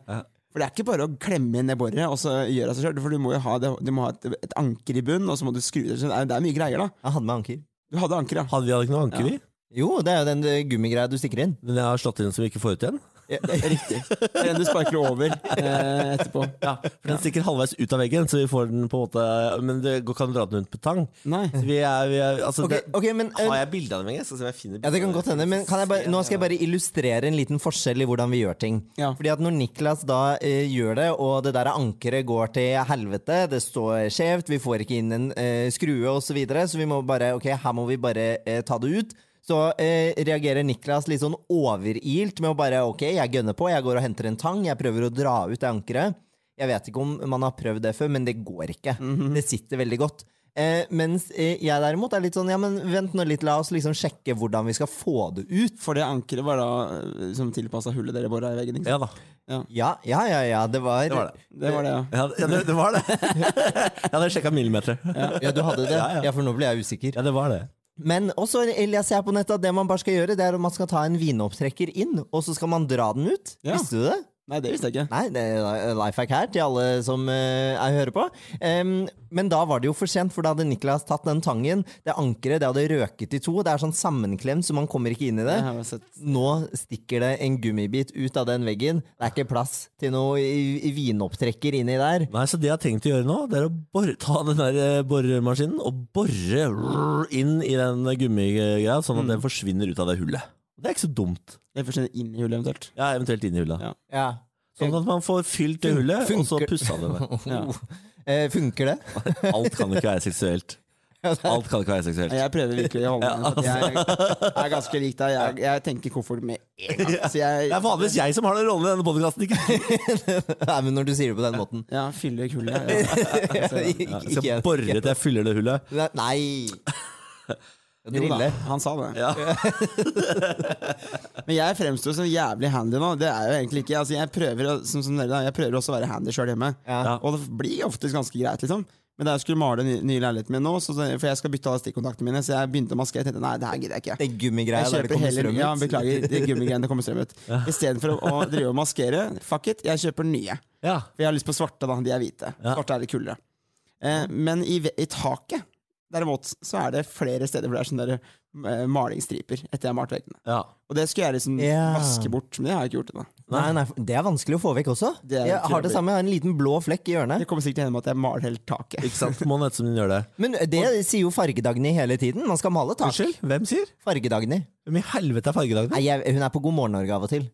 Speaker 3: For det er ikke bare å klemme inn det boret og så gjøre det seg sjøl. For du må jo ha, det, du må ha et, et anker i bunnen, og så må du skru det så Det er, det er mye greier, da.
Speaker 2: Jeg hadde med anker.
Speaker 3: Du hadde anker, ja.
Speaker 1: Hadde vi hadde ikke noe anker,
Speaker 3: Ja.
Speaker 1: vi?
Speaker 2: Jo, det er jo den eh, gummigreia du stikker inn.
Speaker 1: Men jeg har slått inn som vi ikke får ut igjen.
Speaker 3: Riktig. Det er Den du sparker over eh, etterpå.
Speaker 1: For den stikker halvveis ut av veggen, så vi får den på en måte Men det går- kan dra den rundt på tang.
Speaker 3: Nei.
Speaker 1: Så vi er, vi er altså,
Speaker 2: Ok,
Speaker 1: det,
Speaker 2: ok, men... eh,
Speaker 1: Har jeg bilde av dem engang? Skal se om jeg finner
Speaker 2: Ja, det kan godt hende, men kan jeg bare, nå skal jeg bare illustrere en liten forskjell i hvordan vi gjør ting.
Speaker 3: Ja.
Speaker 2: Fordi at når Niklas da eh, gjør det, og det der ankeret går til helvete, det står skjevt, vi får ikke inn en eh, skrue og så videre, så vi må bare, ok, her må vi bare eh, ta det ut. Så eh, reagerer Niklas litt sånn overilt med å bare, ok, jeg gønner på, jeg går og henter en tang, jeg prøver å dra ut det ankeret. Jeg vet ikke om man har prøvd det før, men det går ikke. Det sitter veldig godt. Eh, mens eh, jeg derimot er litt sånn, ja, men vent nå litt, la oss liksom sjekke hvordan vi skal få det ut.
Speaker 3: For det ankeret var da eh, som tilpassa hullet dere bora i veggen? Ikke? sant?
Speaker 1: Ja da.
Speaker 2: Ja, ja, ja, ja, det var
Speaker 1: Det var det.
Speaker 3: Det var det, ja.
Speaker 1: Ja, det, det var det. Jeg hadde sjekka millimeter.
Speaker 2: Ja, du hadde det?
Speaker 1: Ja,
Speaker 2: Ja,
Speaker 1: ja.
Speaker 2: for nå ble jeg usikker.
Speaker 1: Ja, det var det.
Speaker 2: Men også leser jeg på nettet at det man bare skal gjøre, det er at man skal ta en vinopptrekker inn, og så skal man dra den ut.
Speaker 3: Ja.
Speaker 2: Visste du det?
Speaker 3: Nei, det visste jeg ikke.
Speaker 2: Nei, det er eh, life hack her til alle som eh, jeg hører på. Em, men da var det jo for sent, for da hadde Niklas tatt den tangen. Det ankeret det hadde røket i to. Det er sånn sammenklemt, så man kommer ikke inn i det.
Speaker 3: Jeg har sett.
Speaker 2: Nå stikker det en gummibit ut av den veggen. Det er ikke plass til noe i- i vinopptrekker inni der.
Speaker 1: Nei, så det jeg har tenkt å gjøre nå, det er å borre, ta den der eh, boremaskinen og borre rrr, inn i den gummigreia, sånn at den forsvinner ut av det hullet. Det er ikke så dumt.
Speaker 3: Det forsvinner inn i hullet eventuelt.
Speaker 1: Ja, eventuelt inn i hullet.
Speaker 3: Ja.
Speaker 2: Ja.
Speaker 1: Sånn at man får fylt det hullet, og så
Speaker 2: funker-
Speaker 1: pussa det med.
Speaker 3: Ja.
Speaker 2: Eh, funker det?
Speaker 1: Alt kan ikke være seksuelt. Alt kan ikke være seksuelt.
Speaker 3: Jeg prøver virkelig å holde meg.
Speaker 2: Altså.
Speaker 3: for Jeg, jeg er ganske lik deg. Jeg, jeg tenker koffert med en gang. Så jeg
Speaker 1: Det er vanligvis jeg som har den rollen i denne podkasten, ikke
Speaker 2: Nei, men når du sier det på den måten.
Speaker 3: ja, fyller hullet. Ja.
Speaker 2: Ik-
Speaker 1: Jeg
Speaker 2: ikke
Speaker 1: skal
Speaker 2: jeg.
Speaker 1: borre til jeg fyller det hullet.
Speaker 2: Nei!
Speaker 3: Jo da,
Speaker 2: Drille.
Speaker 3: han sa det.
Speaker 1: Ja.
Speaker 3: Men jeg fremstår som jævlig handy nå. Det er jo egentlig ikke altså, Jeg prøver å- som, som dere, da, jeg prøver også å være handy sjøl hjemme.
Speaker 2: Ja.
Speaker 3: Og det blir oftest ganske greit, liksom. Men da jeg skulle male den nye- nye leiligheten min nå, så, for jeg skal bytte alle stikkontaktene mine, så jeg begynte å maskere. Jeg tenkte nei, det her gidder jeg ikke.
Speaker 2: Det gummigreia der
Speaker 3: Jeg
Speaker 2: det
Speaker 3: kjøper
Speaker 2: kommer
Speaker 3: heller
Speaker 2: strøm ut.
Speaker 3: Ja, beklager, det er gummigreiene det kommer strøm ut. Istedenfor å, å drive og maskere, fuck it, jeg kjøper nye.
Speaker 1: Ja.
Speaker 3: For jeg har lyst på svarte, da. De er hvite.
Speaker 1: Ja.
Speaker 3: Svarte er litt kulere. Eh, men i, ve- i taket, derimot, så er det flere steder hvor det er sånne der, eh, malingsstriper etter jeg har malt veggene.
Speaker 1: ja.
Speaker 3: Og det skulle jeg liksom
Speaker 2: Ja.
Speaker 3: vaske bort, men det har jeg ikke gjort ennå.
Speaker 2: Nei, nei, det er vanskelig å få vekk også.
Speaker 3: Det er
Speaker 2: jeg har det
Speaker 3: trøbbel.
Speaker 2: samme, jeg har en liten blå flekk i hjørnet.
Speaker 3: Det kommer sikkert til å hende med at jeg maler hele taket.
Speaker 1: Ikke sant? Må nesten gjøre det.
Speaker 2: Men det sier jo Fargedagny hele tiden. Man skal male tak.
Speaker 1: Unnskyld? Hvem sier?
Speaker 2: Fargedagny.
Speaker 1: Hvem i helvete er fargedagene?
Speaker 2: Nei, jeg, hun er på God morgen Norge av og til.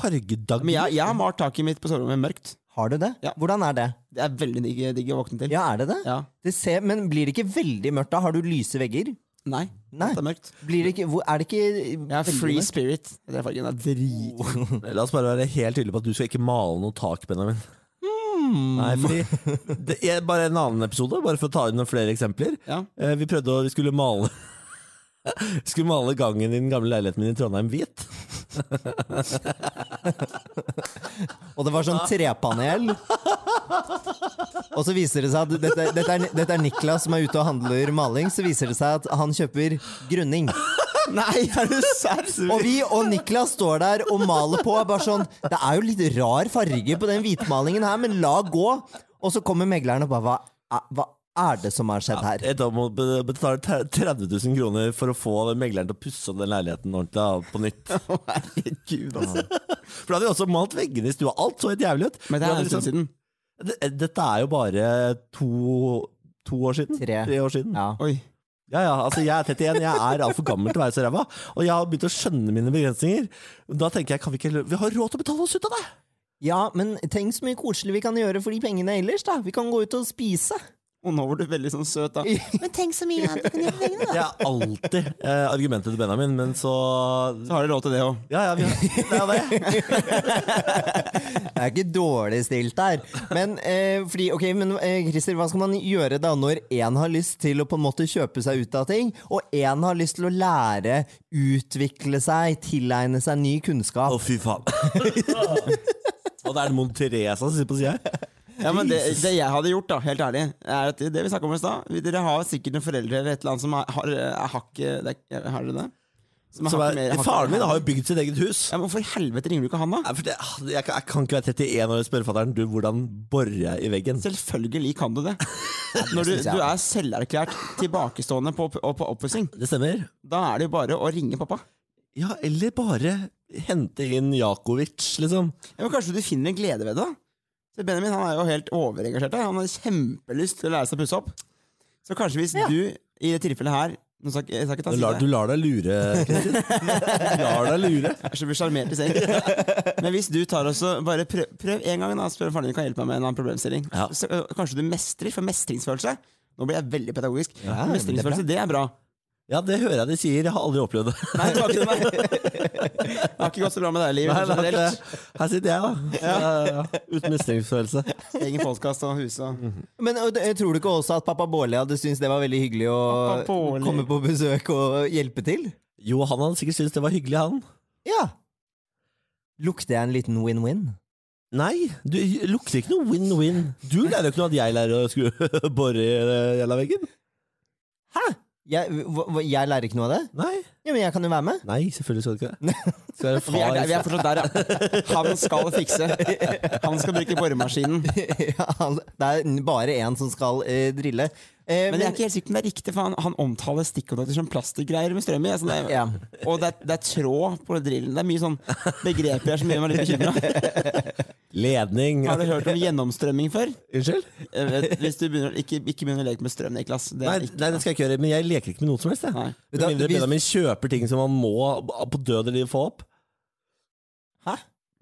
Speaker 1: Fargedagene?
Speaker 3: Men jeg, jeg har malt taket mitt på soverommet mørkt.
Speaker 2: Har du det?
Speaker 3: Ja.
Speaker 2: Hvordan er det?
Speaker 3: Det er veldig digg, digg å våkne til.
Speaker 2: Ja, er det det?
Speaker 3: Ja.
Speaker 2: det ser, men blir det ikke veldig mørkt da? Har du lyse vegger?
Speaker 3: Nei,
Speaker 2: Nei.
Speaker 3: det er mørkt.
Speaker 2: Blir det ikke, hvor, er det ikke
Speaker 3: Jeg er
Speaker 2: veldig mørkt?
Speaker 3: free
Speaker 2: Oh.
Speaker 3: spirit. Den fargen er drit.
Speaker 1: La oss bare være helt tydelige på at du skal ikke male noe tak, Benjamin.
Speaker 3: Hmm.
Speaker 1: Nei, fordi det er bare en annen episode, bare for å ta inn noen flere eksempler.
Speaker 3: Ja.
Speaker 1: Eh, Vi prøvde å, vi skulle male vi skulle male gangen i den gamle leiligheten min i Trondheim hvit.
Speaker 2: Og det var sånn trepanel. Og så viser det seg at dette, dette, er, dette er Niklas som er ute og handler maling. Så viser det seg at han kjøper grunning.
Speaker 3: Nei, er du serr?
Speaker 2: Og vi og Niklas står der og maler på. er Bare sånn, det er jo litt rar farge på den hvitmalingen her, men la gå. Og så kommer megleren og bare Hva, er- hva er det som har skjedd her?
Speaker 1: Etter å må be- betale te- 30 000 kroner for å få den megleren til å pusse opp den leiligheten ordentlig da, på nytt.
Speaker 3: Herregud, altså.
Speaker 1: For da hadde vi også malt veggene i stua. Alt så helt jævlig ut.
Speaker 3: Men
Speaker 1: Vi
Speaker 3: det er
Speaker 1: hadde
Speaker 3: en
Speaker 1: liksom-
Speaker 3: stund siden.
Speaker 2: sånn-
Speaker 1: Det- Dette er jo bare to, to år siden.
Speaker 2: Tre.
Speaker 1: år siden.
Speaker 2: Ja.
Speaker 3: Oi.
Speaker 1: Ja, ja, altså jeg er 31, jeg er altfor gammel til å være så ræva. Og jeg har begynt å skjønne mine begrensninger. Da tenker jeg, kan vi ikke heller- Vi har råd til å betale oss ut av det!
Speaker 2: ja, men tenk så mye koselig vi kan gjøre for de pengene ellers, da. Vi kan gå ut og spise.
Speaker 3: Og nå var du veldig sånn søt, da.
Speaker 2: Men tenk så mye annet vi kan gjøre for pengene,
Speaker 1: Det er alltid eh, argumentet til Benjamin, men så
Speaker 3: Så har du råd til det òg.
Speaker 1: Ja, ja, vi har det. Er det.
Speaker 2: Jeg er ikke dårlig stilt der. Men, eh, fordi, ok, men eh, Christer, hva skal man gjøre da når én har lyst til å på en måte kjøpe seg ut av ting, og én har lyst til å lære, utvikle seg, tilegne seg ny
Speaker 1: Å,
Speaker 2: kunnskap?
Speaker 1: fy faen. Og det er Mon Teresa som sitter på sida her.
Speaker 3: Ja, men det, det jeg hadde gjort, da, helt ærlig, er at det vi snakket om i stad Dere har sikkert noen foreldre eller et eller annet som har, har, er hakket det er- Har dere det? Som
Speaker 1: Som
Speaker 3: hakket
Speaker 1: er,
Speaker 3: mer- hakket
Speaker 1: faren min
Speaker 3: mer-
Speaker 1: har jo bygd sitt eget hus.
Speaker 3: ja, men Hvorfor i helvete ringer du ikke han, da?
Speaker 1: Nei, for det, ah, jeg, kan, jeg kan ikke være 31 år og spørre fatter'n du, hvordan borer jeg i veggen.
Speaker 3: Selvfølgelig kan du det. Når du,
Speaker 2: synes jeg.
Speaker 3: du er selverklært tilbakestående på, opp- og på oppussing,
Speaker 1: Det stemmer.
Speaker 3: da er det jo bare å ringe pappa.
Speaker 1: Ja, eller bare hente inn Jakovic, liksom.
Speaker 3: Ja, men Kanskje du finner en glede ved det? da? Så Benjamin han er jo helt overengasjert. her. Han har kjempelyst til å lære seg å pusse opp. Så kanskje hvis du i det tilfellet her nå skal, ikke- jeg skal ikke ta
Speaker 1: Du lar,
Speaker 3: side.
Speaker 1: du lar deg lure, Kristin. Du lar deg lure.
Speaker 3: Jeg er så sjarmert i seng. Men hvis du tar også, bare prøv, prøv en gang da, spør om faren din kan hjelpe meg med en annen problemstilling.
Speaker 1: Ja.
Speaker 3: Så, øh, kanskje du mestrer, for mestringsfølelse Nå blir jeg veldig pedagogisk.
Speaker 2: Ja, men det er bra.
Speaker 3: mestringsfølelse, det er bra.
Speaker 1: Ja, det hører jeg de sier. Jeg har aldri opplevd det.
Speaker 3: Nei, det har ikke, det har ikke gått så bra med deg i livet.
Speaker 1: Nei, det er ikke
Speaker 3: generelt.
Speaker 1: det. Sånn eh, Her sitter jeg, da. Ja, ja, ja. Uten mestringsfølelse.
Speaker 3: Egen podkast og hus og
Speaker 2: Men ø, d- tror du ikke også at pappa Bårli hadde syntes det var veldig hyggelig å
Speaker 3: Pappa Bårli.
Speaker 2: komme på besøk og hjelpe til?
Speaker 1: Jo, han hadde sikkert syntes det var hyggelig, han.
Speaker 2: Ja. Lukter jeg en liten win-win?
Speaker 1: Nei, du lukter ikke noe win-win. Du lærer jo ikke noe at jeg lærer å skru bore i eh, jævla veggen.
Speaker 2: Jeg, hva- hva- jeg lærer ikke noe av det?
Speaker 1: Nei.
Speaker 2: Ja, men jeg kan jo være med.
Speaker 1: Nei, selvfølgelig skal du ikke det. Skal være
Speaker 3: Vi er, der, vi er
Speaker 1: far.
Speaker 3: fortsatt der, ja. Han skal fikse. Han skal bruke boremaskinen.
Speaker 2: ja, han- det er bare én som skal eh, drille. Eh,
Speaker 3: Men jeg er ikke helt sikker på om det er riktig, for han, han omtaler stikkontakter som plastikkgreier med strøm i. Så det er,
Speaker 2: Ja.
Speaker 3: Og det er, det er tråd på drillen. Det er mye sånn begreper her som gjør meg litt bekymra.
Speaker 1: Ledning
Speaker 3: Har du hørt om gjennomstrømming før?
Speaker 1: Unnskyld?
Speaker 3: Jeg vet, Hvis du begynner, ikke, ikke begynner å leke med strøm, Niklas. Det
Speaker 1: Nei,
Speaker 3: er ikke,
Speaker 1: nei, det skal jeg ikke gjøre. Men jeg leker ikke med noe som helst. jeg.
Speaker 3: Nei.
Speaker 1: Med mindre
Speaker 2: Vi-
Speaker 1: Benjamin kjøper ting som han må på død eller liv få opp.
Speaker 2: Hæ?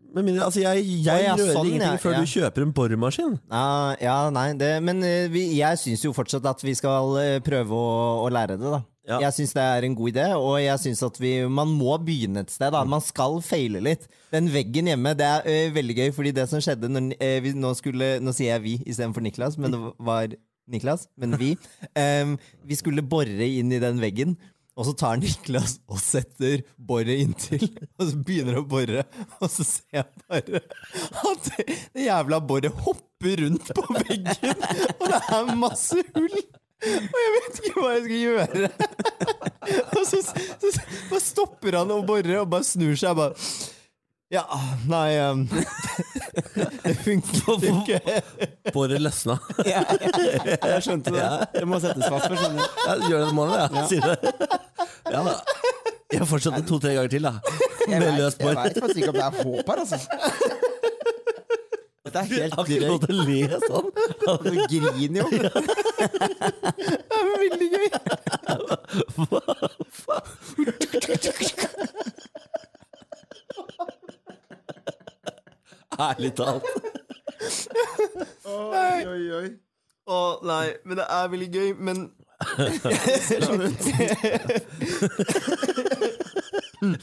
Speaker 1: Med mindre, altså Jeg, jeg
Speaker 2: Å, ja,
Speaker 1: rører
Speaker 2: sånn,
Speaker 1: ingenting
Speaker 2: ja,
Speaker 1: før
Speaker 2: ja.
Speaker 1: du kjøper en boremaskin.
Speaker 2: Ja, ja, nei, det, men eh, vi, jeg syns jo fortsatt at vi skal eh, prøve å, å lære det, da.
Speaker 1: Ja.
Speaker 2: Jeg syns det er en god idé, og jeg syns at vi, man må begynne et sted. da Man skal feile litt. Den veggen hjemme, det er eh, veldig gøy, fordi det som skjedde når eh, vi nå skulle Nå sier jeg vi istedenfor Niklas, men det var Niklas, men vi. Em, vi skulle bore inn i den veggen. Og så tar Niklas og setter boret inntil, og så begynner å bore. Og så ser jeg bare at det, det jævla boret hopper
Speaker 3: hopper rundt på veggen.
Speaker 2: Og det er masse hull! Og jeg vet ikke hva jeg skal gjøre! Og så, så, så bare stopper han å bore og bare snur seg og bare Ja, nei ehm, Det funker ikke.
Speaker 1: Båret løsna.
Speaker 3: Ja, Jeg skjønte det. Det må settes fast for skjønner du.
Speaker 1: Ja, gjør det en måned, ja. Sier det. Ja da. Jeg fortsatte to-tre ganger til, da.
Speaker 3: Jeg
Speaker 1: Med
Speaker 3: vet-
Speaker 1: løst
Speaker 3: Jeg
Speaker 1: bår.
Speaker 3: veit faktisk ikke om det er håp her, altså. Dette er
Speaker 1: Jeg
Speaker 3: helt
Speaker 1: har ikke lov
Speaker 3: drøyt.
Speaker 1: til å le sånn.
Speaker 3: Du griner jo.
Speaker 2: Det er veldig gøy.
Speaker 1: Ærlig talt.
Speaker 3: Oi, oi, oi.
Speaker 2: Å nei, men det er veldig gøy, men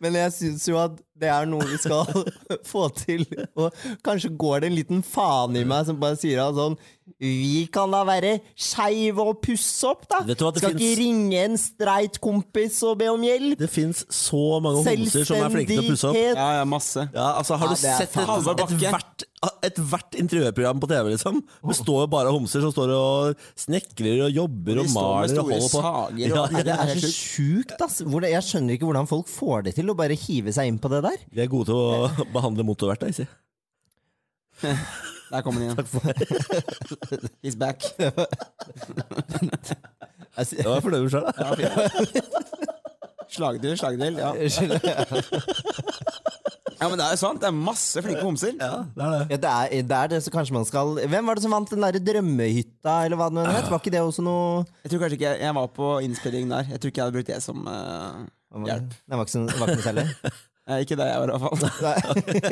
Speaker 2: Men jeg syns jo at det er noe vi skal få til. Og kanskje går det en liten faen i meg som bare sier at sånn Vi kan da være skeive og pusse opp, da!
Speaker 1: Vet du hva, det
Speaker 2: skal
Speaker 1: finnes-
Speaker 2: ikke ringe en streit kompis og be om hjelp!
Speaker 1: Det fins så mange homser som er flinke til å pusse opp.
Speaker 3: Ja, ja, masse.
Speaker 1: Ja, altså Har du
Speaker 2: Ja, det er
Speaker 1: sett
Speaker 2: faen-
Speaker 3: Halvard
Speaker 1: et, et,
Speaker 3: Bakke.
Speaker 1: hvert, et hvert intervjuprogram på TV? liksom Består jo bare av homser som står og snekrer og jobber
Speaker 3: De
Speaker 1: og
Speaker 3: står med
Speaker 1: maler og
Speaker 3: store
Speaker 1: holder på.
Speaker 3: sager og
Speaker 1: Ja,
Speaker 2: Det er så
Speaker 3: helt
Speaker 2: sjukt, ass! Hvordan- Jeg skjønner ikke hvordan folk får det til å bare hive seg inn på det der.
Speaker 1: De er gode til å behandle motorverktøy, si.
Speaker 3: Der kommer han igjen. He's back.
Speaker 2: Jeg
Speaker 3: Altså,
Speaker 2: sy-
Speaker 1: Det var jeg fornøyd med selv, da.
Speaker 3: Slagdel, slagdel. Ja. ja, men det er jo sant. Det er masse flinke homser.
Speaker 1: Ja, det er det.
Speaker 2: Ja, det, er, det er det, så kanskje man skal Hvem var det som vant den derre drømmehytta, eller hva det nå het? Var ikke det også noe
Speaker 3: Jeg tror kanskje ikke jeg, jeg var på innspillingen der. Jeg tror ikke jeg hadde brukt det som
Speaker 2: Hva
Speaker 3: eh,
Speaker 2: var det?
Speaker 3: hjelp.
Speaker 2: Nei, det var ikke, sånn- det var ikke noe særlig.
Speaker 3: Eh, ikke det jeg var, i hvert fall.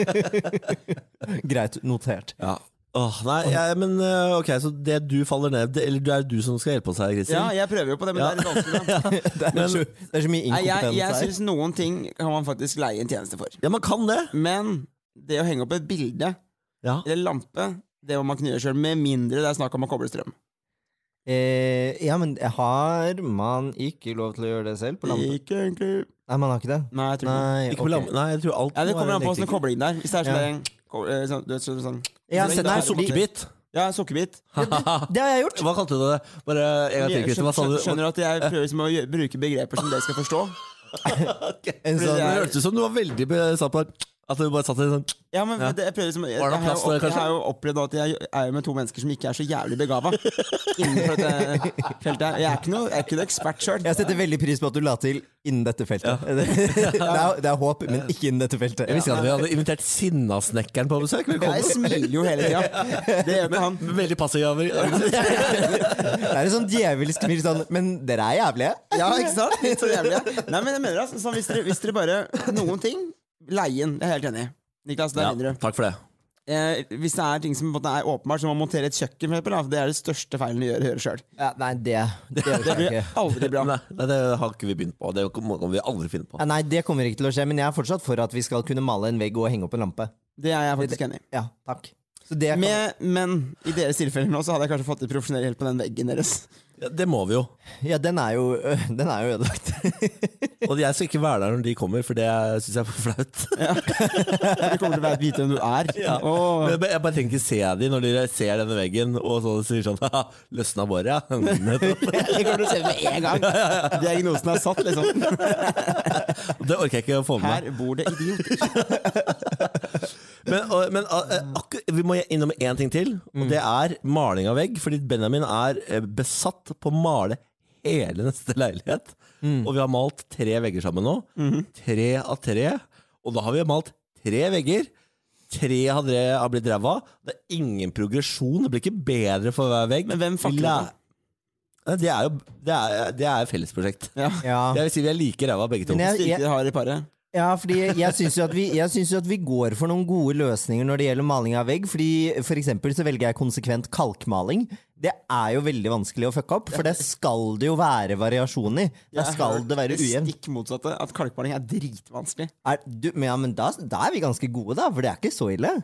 Speaker 2: Nei. Greit notert.
Speaker 1: Ja. Åh, nei, jeg- men eh, ok, så det du faller ned det, Eller det er du som skal hjelpe oss her, Kristin?
Speaker 3: Ja, jeg prøver jo på det, men det er litt vanskelig. da.
Speaker 2: Det er, så, det er så mye
Speaker 3: Nei, jeg jeg
Speaker 2: inkompetens her.
Speaker 3: syns noen ting kan man faktisk leie en tjeneste for.
Speaker 1: Ja, man kan det.
Speaker 3: Men det å henge opp et bilde
Speaker 1: Ja.
Speaker 3: eller lampe, det må man kunne gjøre sjøl, med mindre det er snakk om å koble strøm.
Speaker 2: Eh, ja, men har man ikke lov til å gjøre det selv på lampe?
Speaker 3: Ikke egentlig
Speaker 2: Nei, man har ikke det.
Speaker 3: Nei, jeg tror ikke det.
Speaker 2: Nei,
Speaker 1: Ikke
Speaker 2: ok.
Speaker 1: med lam- Nei, jeg tror alt
Speaker 3: Ja, Det
Speaker 1: må
Speaker 3: kommer
Speaker 1: være
Speaker 3: an på åssen
Speaker 1: elektriker.
Speaker 3: koblingen der. Hvis det er sånn,
Speaker 2: Ja.
Speaker 3: der, ko- eh, sånn, du vet, sånn, sånn
Speaker 2: Ja,
Speaker 3: Nei,
Speaker 2: sett
Speaker 3: det
Speaker 1: Nei,
Speaker 3: er
Speaker 2: her, fordi-
Speaker 3: sukkerbit.
Speaker 1: sukkerbit.
Speaker 3: Ja, sukkerbit.
Speaker 2: Det har jeg gjort!
Speaker 1: Hva kalte du det? Bare en gang til, Kristin. Hva sa du?
Speaker 3: Skjønner skjønner du at jeg prøver liksom å gjø- bruke begreper som dere skal forstå?
Speaker 2: En
Speaker 3: Fordi
Speaker 1: Det
Speaker 2: sånn,
Speaker 3: jeg-
Speaker 1: hørtes ut som du var veldig besatt på at du bare satt i en sånn
Speaker 3: Ja, men det, jeg prøver liksom jeg,
Speaker 1: Var det
Speaker 3: jeg, har
Speaker 1: plass
Speaker 3: jo
Speaker 1: til det,
Speaker 3: opp, jeg
Speaker 1: kanskje?
Speaker 3: har jo opplevd at jeg er jo med to mennesker som ikke er så jævlig begava innenfor dette feltet. her. Jeg er ikke noe, jeg er ikke noe ekspert sjøl.
Speaker 2: jeg setter veldig pris på at du la til 'innen dette feltet'. det, er, det er håp, men ikke innen dette feltet.
Speaker 1: Jeg visste ikke at vi hadde invitert Sinnasnekkeren på besøk.
Speaker 3: Jeg
Speaker 1: Velkommen.
Speaker 3: smiler jo hele tida. Det gjør ikke han.
Speaker 1: Veldig passiv. Aver.
Speaker 2: Det er en sånn djevelsk smil sånn Men dere er jævlige.
Speaker 3: Ja, ikke sant? Litt så jævlig. ja. Nei, men jeg mener altså, sånn, hvis, dere, hvis dere bare Noen ting Leien. Det er jeg helt enig i. Niklas, der
Speaker 1: Ja,
Speaker 3: vinner du.
Speaker 1: takk for det.
Speaker 3: Eh, hvis det er ting som på en måte er åpenbart, som å montere et kjøkken, for eksempel, da, det er det største feilen du gjør, gjør sjøl.
Speaker 2: Ja, nei, det Det,
Speaker 3: Det blir aldri bra.
Speaker 1: Nei, nei, det har ikke vi begynt på. Det kommer vi aldri finne på.
Speaker 2: Ja, nei, det kommer ikke til å skje, men jeg er fortsatt for at vi skal kunne male en vegg og henge opp en lampe.
Speaker 3: Det er jeg faktisk enig i.
Speaker 2: Ja, takk. Så det kan...
Speaker 3: Med, men i deres tilfelle nå, så hadde jeg kanskje fått litt profesjonell hjelp på den veggen deres.
Speaker 1: Ja, det må vi jo.
Speaker 2: Ja, den er jo, øh, den er jo ødelagt.
Speaker 1: Og jeg skal ikke være der når de kommer, for det syns jeg er for flaut.
Speaker 3: Du kommer til å vite hvem du er.
Speaker 1: Men
Speaker 3: Og,
Speaker 1: Jeg bare- jeg bare trenger ikke se de når de ser denne veggen og så sier sånn Haha, løsna båret, ja. Det
Speaker 3: det kommer du til å se med en gang. Diagnosen er satt, liksom.
Speaker 1: orker jeg ikke å få med meg.
Speaker 3: Her bor det idioter.
Speaker 1: Men, og, men eh, akkur- vi må innom én ting til, og det er maling av vegg. Fordi Benjamin er eh, besatt på å male hele neste leilighet.
Speaker 3: Mm.
Speaker 1: Og vi har malt tre vegger sammen nå.
Speaker 3: Mhm.
Speaker 1: Tre av tre. Og da har vi malt tre vegger. Tre av tre har blitt ræva. Det er ingen progresjon. Det blir ikke bedre for hver vegg.
Speaker 3: Men hvem fucker
Speaker 1: Vi læ-
Speaker 3: det?
Speaker 1: Nei, Det er jo det er, det er et fellesprosjekt.
Speaker 3: Ja.
Speaker 2: Ja,
Speaker 1: Jeg vil si vi er like ræva begge to.
Speaker 2: Men jeg-
Speaker 3: Styrker dere har i paret.
Speaker 2: ja fordi jeg syns jo, at vi- jeg syns jo at vi går for noen gode løsninger når det gjelder maling av vegg. Fordi For eksempel så velger jeg konsekvent kalkmaling. Det er jo veldig vanskelig å fucke opp, for det skal det jo være variasjon i. Der
Speaker 3: Jeg har
Speaker 2: skal
Speaker 3: hørt
Speaker 2: det være ujevnt.
Speaker 3: Stikk motsatte. At kalkmaling er dritvanskelig.
Speaker 2: Er, du, men ja, men da, da er vi ganske gode, da, for det er ikke så ille.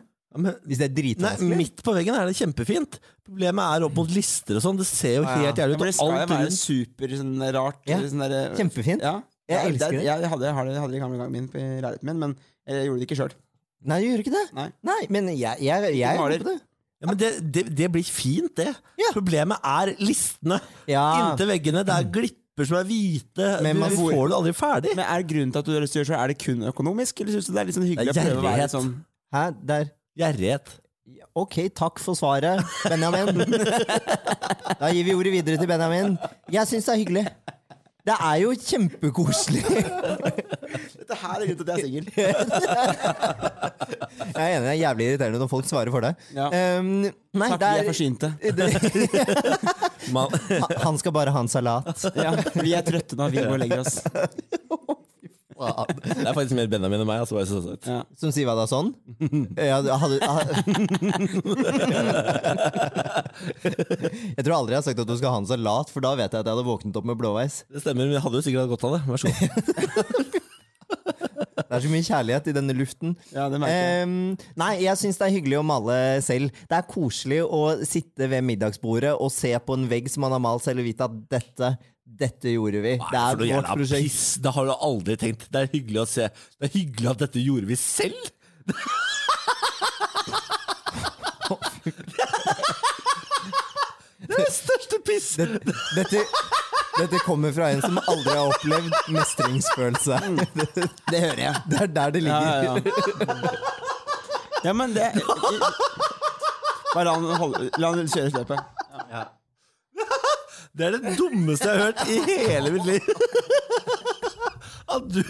Speaker 2: Hvis det er
Speaker 1: Nei,
Speaker 2: dritvanskelig.
Speaker 1: Midt på veggen er det kjempefint. Problemet er opp mot lister og sånn. Det ser jo
Speaker 2: Ja, ja.
Speaker 1: helt
Speaker 3: Ja,
Speaker 1: jævlig ut.
Speaker 3: men det skal
Speaker 1: og
Speaker 3: jo
Speaker 1: alt
Speaker 3: være
Speaker 1: rundt-
Speaker 3: super sånn rart.
Speaker 2: Ja,
Speaker 3: eller Sånn der,
Speaker 2: Kjempefint.
Speaker 3: Ja.
Speaker 2: Jeg elsker det.
Speaker 3: Jeg, hadde, jeg hadde, jeg hadde det i gamle gangen min på leiligheten min, men jeg gjorde det ikke sjøl.
Speaker 2: Nei, du gjør ikke det?
Speaker 3: Nei.
Speaker 2: men jeg, jeg, jeg,
Speaker 3: maler.
Speaker 2: håper det.
Speaker 1: Ja, men det, det, det blir fint, det.
Speaker 2: Ja.
Speaker 1: Problemet er listene
Speaker 2: Ja.
Speaker 1: inntil veggene. Det er glipper som er hvite.
Speaker 2: Men
Speaker 1: du,
Speaker 2: man
Speaker 1: vi
Speaker 3: får-
Speaker 1: får det aldri ferdig.
Speaker 3: Men er grunnen til at du har lyst til å gjøre det, er det kun økonomisk, eller syns du det er litt sånn hyggelig å
Speaker 1: Det er
Speaker 3: prøve å være
Speaker 1: gjerrighet.
Speaker 3: sånn
Speaker 2: Hæ, der.
Speaker 1: Gjerrighet.
Speaker 2: Ok, takk for svaret, Benjamin. Da gir vi ordet videre til Benjamin. Jeg syns det er hyggelig. Det er jo kjempekoselig.
Speaker 3: Dette her er grunnen til at jeg er singel.
Speaker 2: Jeg er enig, det er jævlig irriterende når folk svarer for deg.
Speaker 3: Ja.
Speaker 2: Um, nei,
Speaker 3: Takk,
Speaker 2: det
Speaker 3: vi er
Speaker 2: er,
Speaker 3: forsynte.
Speaker 1: Man,
Speaker 2: Ha- han skal bare ha en salat.
Speaker 3: Ja, vi er trøtte når vi går og legger oss.
Speaker 1: det er faktisk mer Benjamin enn meg. Altså, bare så sagt.
Speaker 3: Ja.
Speaker 2: Som sier hva da, sånn? Ja, du- hadde, ha- jeg tror aldri jeg har sagt at du skal ha en salat, for da vet jeg at jeg hadde våknet opp med blåveis.
Speaker 1: Det stemmer, men jeg hadde jo sikkert hatt godt av det. Vær så god.
Speaker 2: Det er så mye kjærlighet i denne luften.
Speaker 3: Ja, det merker jeg.
Speaker 2: Ehm, nei, jeg syns det er hyggelig å male selv. Det er koselig å sitte ved middagsbordet og se på en vegg som man har malt selv, og vite at dette, dette gjorde vi. Det
Speaker 1: For noe
Speaker 2: er vårt
Speaker 1: jævla
Speaker 2: prosjekt.
Speaker 1: Piss. Det har du aldri tenkt. Det er hyggelig å se. Det er hyggelig at dette gjorde vi selv. Det er det største piss!
Speaker 2: Dette, dette kommer fra en som aldri har opplevd mestringsfølelse. Det, hører jeg. Det er der det
Speaker 3: Mm. Ja,
Speaker 2: ligger.
Speaker 3: ja, ja. ja men det Bare la han holde- la han kjøre løpet.
Speaker 1: Det er det dummeste jeg har hørt i hele mitt liv. At du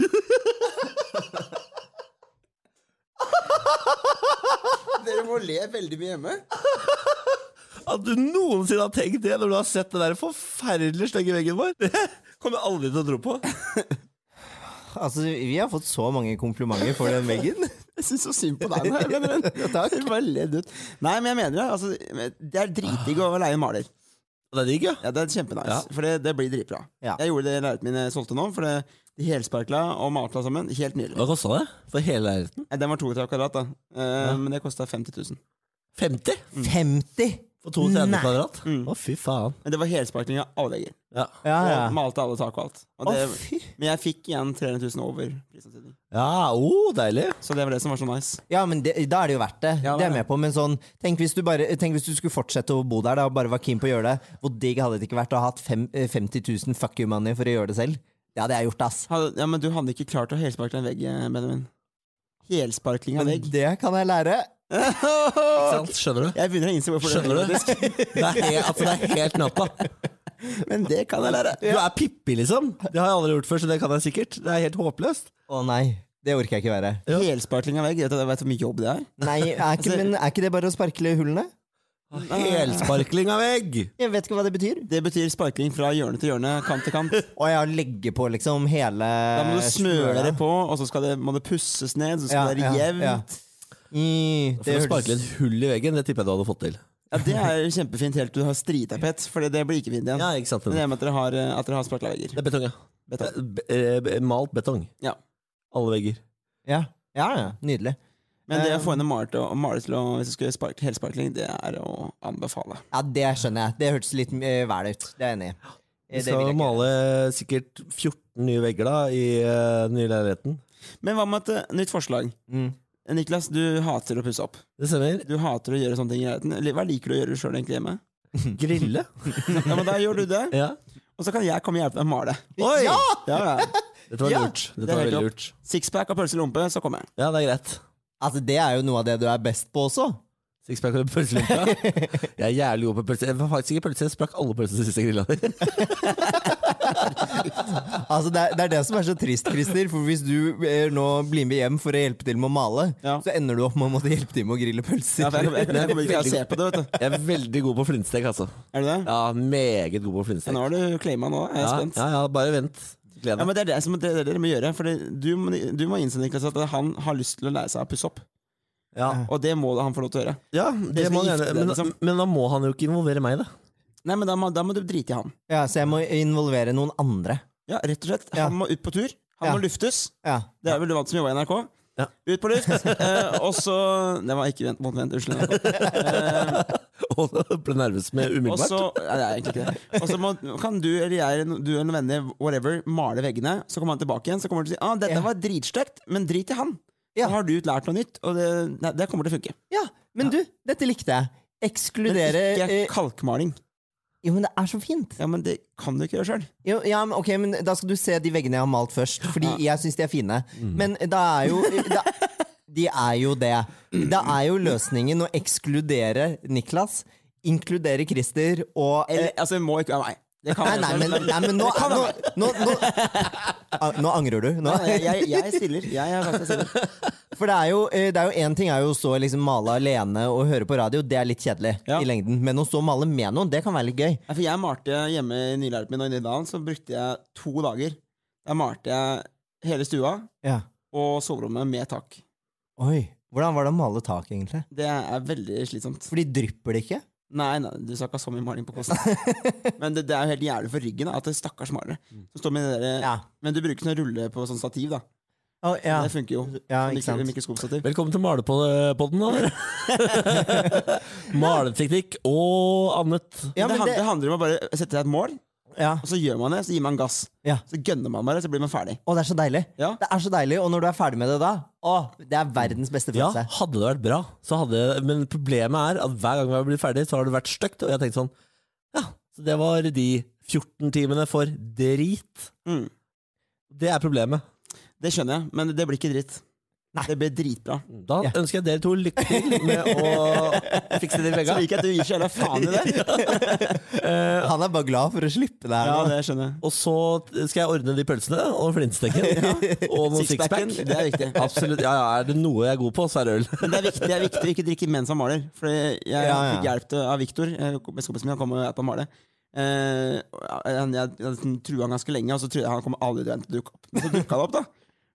Speaker 3: Dere må le veldig mye hjemme.
Speaker 1: At du noensinne har tenkt det når du har sett den der forferdelig stygge veggen vår, det kommer jeg aldri til å tro på.
Speaker 2: Altså, vi har fått så mange komplimenter for den veggen.
Speaker 3: Jeg syns så synd på deg nå. jeg mener det. Jeg bare ledd ut. Nei, men jeg mener det. Altså, det er dritdigg å leie en maler.
Speaker 1: Det er digg, ja.
Speaker 3: Ja, Det er kjempenice,
Speaker 1: Ja.
Speaker 3: for det, det blir dritbra.
Speaker 2: Ja.
Speaker 3: Jeg gjorde det i leiligheten min jeg solgte nå, for det, de helsparkla og malte sammen. Helt nydelig.
Speaker 1: Hva kosta det for hele leiligheten?
Speaker 3: Nei, Den var 32 kvadrat, da. Eh, Men det kosta 50 000.
Speaker 1: 50
Speaker 3: Mm.
Speaker 2: 50!
Speaker 1: for 32
Speaker 2: Nei. Mm.
Speaker 1: kvadrat? Å, fy faen.
Speaker 3: Men det var helsparkling av alle vegger.
Speaker 1: Ja.
Speaker 2: Ja, Ah, ja.
Speaker 3: Og Malte alle tak og alt. Og
Speaker 2: Å,
Speaker 3: det,
Speaker 2: fy.
Speaker 3: men jeg fikk igjen 300 000 over prisantydning.
Speaker 1: ja, oh, deilig.
Speaker 3: Så det var det som var så nice.
Speaker 2: Ja, men det, da er det jo verdt det.
Speaker 3: Ja,
Speaker 2: det er
Speaker 3: det er
Speaker 2: jeg med på, men sånn, tenk hvis, du bare, tenk hvis du skulle fortsette å bo der da, og bare var keen på å gjøre det. Hvor digg hadde det ikke vært å ha hatt fem, eh, 50 000 fuck you money for å gjøre det selv? Det hadde jeg gjort, ass.
Speaker 3: Hadde, ja, Men du hadde ikke klart å helsparkle en vegg, eh, Benjamin. Helsparkling av vegg.
Speaker 2: Det kan jeg lære.
Speaker 1: Ikke sant? Skjønner du?
Speaker 3: Jeg begynner å innse hvorfor
Speaker 1: Skjønner
Speaker 3: det
Speaker 1: du? Det er, he altså, det er helt natta.
Speaker 3: Men det kan jeg lære.
Speaker 1: Du er Pippi, liksom. Det har jeg aldri gjort før, så det kan jeg sikkert. Det er helt håpløst.
Speaker 2: Å nei, det orker jeg ikke være.
Speaker 3: Helsparkling av vegg, vet du vet du hvor mye jobb det er?
Speaker 2: Nei, er
Speaker 1: Altså-
Speaker 2: ikke, men er ikke det bare å sparkle hullene?
Speaker 1: Helsparkling av egg!
Speaker 2: Jeg vet ikke hva det betyr.
Speaker 3: Det betyr sparkling fra hjørne til hjørne, kant til kant.
Speaker 2: Og jeg legger på liksom hele
Speaker 3: Da må du smøre det på, og så skal det, må det pusses ned, så skal det være jevnt. Ja.
Speaker 2: I,
Speaker 1: For
Speaker 2: det
Speaker 1: å
Speaker 2: høres
Speaker 1: sparkle et hull i veggen, det tipper jeg du hadde fått til.
Speaker 3: Det er jo kjempefint helt til du har stritapet, for det blir ikke fint igjen.
Speaker 1: Ja, ikke sant?
Speaker 3: Men
Speaker 1: Det
Speaker 3: det er med at dere har, eh, at dere har sparkla vegger.
Speaker 1: er betong, ja.
Speaker 3: Betong.
Speaker 1: Eh, be- eh, be- Malt betong.
Speaker 3: Ja.
Speaker 1: Alle vegger.
Speaker 2: ja. ja, ja, nydelig.
Speaker 3: Men
Speaker 1: Eh.
Speaker 3: det å få inn en maler til å, maler til å hvis du skulle spark, helsparkling, det er å anbefale.
Speaker 2: Ja, Det skjønner jeg. Det hørtes litt eh, vel ut. Det er jeg enig i. Eh,
Speaker 1: Vi
Speaker 2: det vil
Speaker 1: skal
Speaker 2: jeg ikke.
Speaker 1: male sikkert 14 nye vegger da i eh, den nye leiligheten.
Speaker 3: Men hva med et eh, nytt forslag?
Speaker 2: Mm.
Speaker 3: Niklas, du hater å pusse opp.
Speaker 1: Det stemmer.
Speaker 3: Du hater å gjøre sånne ting i leiligheten. Eller Hva liker du å gjøre sjøl egentlig hjemme?
Speaker 1: Grille.
Speaker 3: Ja, men Da gjør du det,
Speaker 1: ja.
Speaker 3: og så kan jeg komme og hjelpe deg å male.
Speaker 1: Oi!
Speaker 2: Ja!
Speaker 3: Ja, ja.
Speaker 1: Dette var
Speaker 2: Ja!
Speaker 1: lurt. Dette
Speaker 3: Det er
Speaker 1: var
Speaker 3: helt
Speaker 1: veldig
Speaker 3: opp.
Speaker 1: lurt.
Speaker 3: Sixpack og pølse i lompe, så kommer jeg.
Speaker 1: Ja, det er greit.
Speaker 2: Altså, Det er jo noe av det du er best på også.
Speaker 1: Sixpack og pølselompe. Jeg er jævlig god på pølse. Jeg var faktisk ikke pølse, jeg sprakk alle pølsene sist jeg grilla.
Speaker 2: Altså, det er, det er det som er så trist, Christer. For hvis du eh, nå blir med hjem for å hjelpe til med å male,
Speaker 3: Ja.
Speaker 2: så ender du opp med å måtte hjelpe til med å grille pølser.
Speaker 3: Ja, for jeg, jeg, jeg, kommer ikke til å se på det, vet du.
Speaker 1: Jeg er veldig god på flintstek, altså.
Speaker 3: Er du det?
Speaker 1: Ja, meget god på
Speaker 3: Ja,
Speaker 1: flintstek.
Speaker 3: Nå har du claima nå, jeg er
Speaker 1: Ja,
Speaker 3: spent.
Speaker 1: ja, ja, bare vent. Gled
Speaker 3: Ja,
Speaker 1: deg.
Speaker 3: men Det er det, som, det, er det dere må gjøre. For du, må- du må innse Niklas, at han har lyst til å lære seg å pusse opp.
Speaker 1: Ja,
Speaker 3: Og det må han få lov til å gjøre.
Speaker 1: ja det
Speaker 3: skal
Speaker 1: må han
Speaker 3: gifte
Speaker 1: gjerne.
Speaker 3: deg,
Speaker 1: Men,
Speaker 3: liksom.
Speaker 1: men da må han jo ikke involvere meg i det.
Speaker 3: Nei, men Da må, da må du drite i han.
Speaker 2: Ja, Så jeg må involvere noen andre.
Speaker 3: Ja, rett og slett.
Speaker 2: Ja.
Speaker 3: Han må ut på tur. Han
Speaker 2: Ja.
Speaker 3: må luftes.
Speaker 2: Ja.
Speaker 3: Det er vel du vant som jobba i NRK?
Speaker 1: Ja.
Speaker 3: Ut på luft! eh, og så Det var ikke vent, mot vent, unnskyld. NRK.
Speaker 1: Og ble nervøs med
Speaker 3: Og
Speaker 1: umiddelbart.
Speaker 3: så Nei, det er egentlig ikke det. Og så må- kan du eller jeg eller du eller noen venner whatever, male veggene, så kommer han tilbake igjen, så kommer han til å si ah, dette var dritstygt, men drit i han.
Speaker 2: Ja.
Speaker 3: Da har du lært noe nytt, og det, nei, det kommer til å funke.
Speaker 2: Ja, men du, dette likte jeg.
Speaker 3: Men
Speaker 2: Ekskludere
Speaker 3: ikke
Speaker 2: eh,
Speaker 3: kalkmaling.
Speaker 2: Jo, men det er så fint.
Speaker 3: Ja, men det kan du ikke gjøre sjøl.
Speaker 2: Jo, ja, men, ok, men Da skal du se de veggene jeg har malt først, fordi jeg syns de er fine. Men da er jo da, De er jo det. Da er jo løsningen å ekskludere Niklas, inkludere Christer og eh,
Speaker 3: Altså, det må ikke være meg. Det kan
Speaker 2: Nei, nei, men, nei, men nå, nå, nå, nå, Ah, nå angrer du. Nå.
Speaker 3: jeg, jeg, jeg stiller. Jeg har sagt jeg stiller.
Speaker 2: For det er jo eh, det er jo én ting er jo å stå og liksom male alene og høre på radio, det er litt kjedelig
Speaker 3: Ja.
Speaker 2: i lengden. Men å stå og male med noen, det kan være litt gøy.
Speaker 3: Nei, for jeg malte hjemme i nylæreren min og i Nydalen, så brukte jeg to dager. Da malte jeg hele stua
Speaker 2: Ja.
Speaker 3: og soverommet med tak.
Speaker 2: Oi. Hvordan var det å male tak, egentlig?
Speaker 3: Det er veldig slitsomt.
Speaker 2: Fordi drypper det ikke?
Speaker 3: Nei, nei, du sa ikke ha så mye maling på kosten. Men det, det er jo helt jævlig for ryggen da, at det er stakkars malere. som står med det der,
Speaker 2: Mm. Ja.
Speaker 3: Men du bruker sånn rulle på sånn stativ, da.
Speaker 2: Å, ja.
Speaker 3: Det funker jo.
Speaker 2: Ja,
Speaker 3: Sånn
Speaker 2: ikke sant.
Speaker 3: mikro- Mikroskopstativ.
Speaker 1: Velkommen til malepodden, da. dere. Maleteknikk og annet.
Speaker 2: Ja, men
Speaker 3: det, handler,
Speaker 2: det-
Speaker 3: det handler om å bare sette seg et mål,
Speaker 2: ja.
Speaker 3: og så gjør man det. Så gir man gass.
Speaker 2: Ja.
Speaker 3: Så gønner man bare, så blir man ferdig.
Speaker 2: Å, det er så deilig.
Speaker 3: Ja.
Speaker 2: Det er så deilig, Og når du er ferdig med det da, å, det er verdens beste
Speaker 1: Ja,
Speaker 2: følelse.
Speaker 1: hadde det vært bra, så hadde Men problemet er at hver gang vi har blitt ferdig, så har det vært stygt. Og jeg har tenkt sånn Ja, så det var de 14 timene for drit.
Speaker 3: Mm.
Speaker 1: Det er problemet.
Speaker 3: Det skjønner jeg, men det blir ikke dritt.
Speaker 2: Nei.
Speaker 3: Det blir dritbra.
Speaker 1: Da
Speaker 2: Ja.
Speaker 1: ønsker jeg dere to lykke til med å fikse de
Speaker 3: Så
Speaker 1: veggene.
Speaker 3: liker jeg at du gir så jævla faen i det.
Speaker 2: Han er bare glad for å slippe det her.
Speaker 3: Ja,
Speaker 2: nå.
Speaker 3: det skjønner jeg.
Speaker 1: Og så skal jeg ordne de pølsene og flintstekken. Og noen
Speaker 3: Sixpacken,
Speaker 1: sixpack.
Speaker 3: det er viktig.
Speaker 1: Absolutt. Ja, ja, er det noe jeg er god på, så er det øl.
Speaker 3: Men det er viktig, det er viktig å ikke drikke mens han maler. For jeg
Speaker 2: ja.
Speaker 3: fikk hjelp til- av Viktor, bestekompisen min, han kom og hjalp meg å male. Eh, og han- jeg jeg liksom trua han ganske lenge, og så trodde jeg han kom aldri til å dukke opp. Men så dukka han opp, da.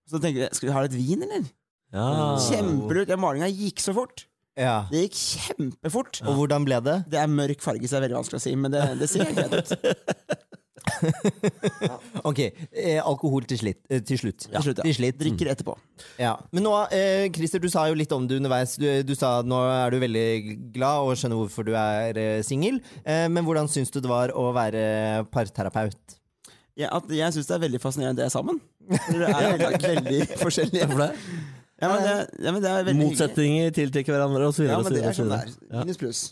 Speaker 3: Så tenker jeg, skal vi ha litt vin, eller?
Speaker 1: Ja.
Speaker 3: Kjempelurt. Den malinga gikk så fort.
Speaker 2: Ja.
Speaker 3: Det gikk kjempefort.
Speaker 2: Og hvordan ble det?
Speaker 3: Det er mørk farge, så det er veldig vanskelig å si, men det, det ser helt greit ut.
Speaker 2: Ok, eh, alkohol til, slitt, eh, til slutt.
Speaker 3: Til slutt, ja.
Speaker 2: Til slitt.
Speaker 3: Drikker etterpå.
Speaker 2: Ja. Men nå, eh, Christer, du sa jo litt om det underveis. Du, eh, du sa at nå er du veldig glad og skjønner hvorfor du er eh, singel. Eh, men hvordan syns du det var å være parterapeut?
Speaker 3: Ja, at jeg syns det er veldig fascinerende det er sammen. Det er veldig, veldig forskjellig.
Speaker 1: Hvorfor det?
Speaker 3: Ja, men det, ja, men det er veldig hyggelig.
Speaker 1: Motsetninger tiltrekker hverandre, og så
Speaker 3: Ja,
Speaker 1: videre. og
Speaker 3: men
Speaker 1: så
Speaker 3: det
Speaker 1: videre,
Speaker 3: er
Speaker 1: og så
Speaker 3: sånn det
Speaker 1: videre.
Speaker 3: er. Minus pluss.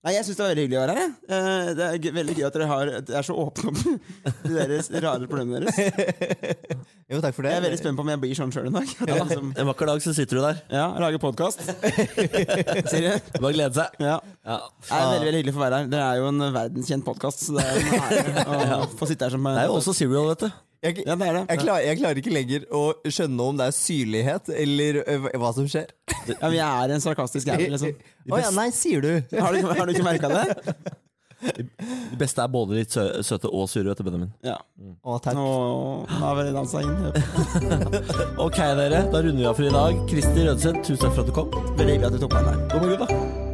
Speaker 3: Nei, jeg syns det var veldig hyggelig å være her. jeg. Eh, Det er gøy- veldig gøy at dere har, at dere er så åpne om de deres rare problemene deres.
Speaker 2: Jo, takk for det.
Speaker 3: Jeg er veldig spent på om jeg blir sånn sjøl en dag. At jeg liksom,
Speaker 1: En vakker dag så sitter du der.
Speaker 3: ja, lager podkast. Seriøst.
Speaker 1: Bare glede seg.
Speaker 3: Ja.
Speaker 1: Ja.
Speaker 3: Det er veldig, veldig hyggelig å få være her. Dere er jo en verdenskjent podkast, så det er en ære å få sitte her som eh,
Speaker 1: Det er jo også Serial, vet du.
Speaker 2: Jeg,
Speaker 3: Ja, det er det.
Speaker 2: jeg, klar, jeg klarer ikke lenger å skjønne om det er syrlighet eller eh, hva- hva som skjer.
Speaker 3: Ja, men jeg er en sarkastisk jævel, liksom.
Speaker 2: Å ja, nei, sier du?
Speaker 3: Har du, har du ikke merka det?
Speaker 1: De beste er både litt sø søte og sure, vet du, Benjamin.
Speaker 3: Ja.
Speaker 2: Å, takk.
Speaker 3: Nå, nå har vi dansa inn.
Speaker 1: Ok, dere. Da runder vi av for i dag. Kristi Rødseth, tusen takk for at du kom.
Speaker 3: Veldig hyggelig at du tok meg med.
Speaker 1: God morgen, da.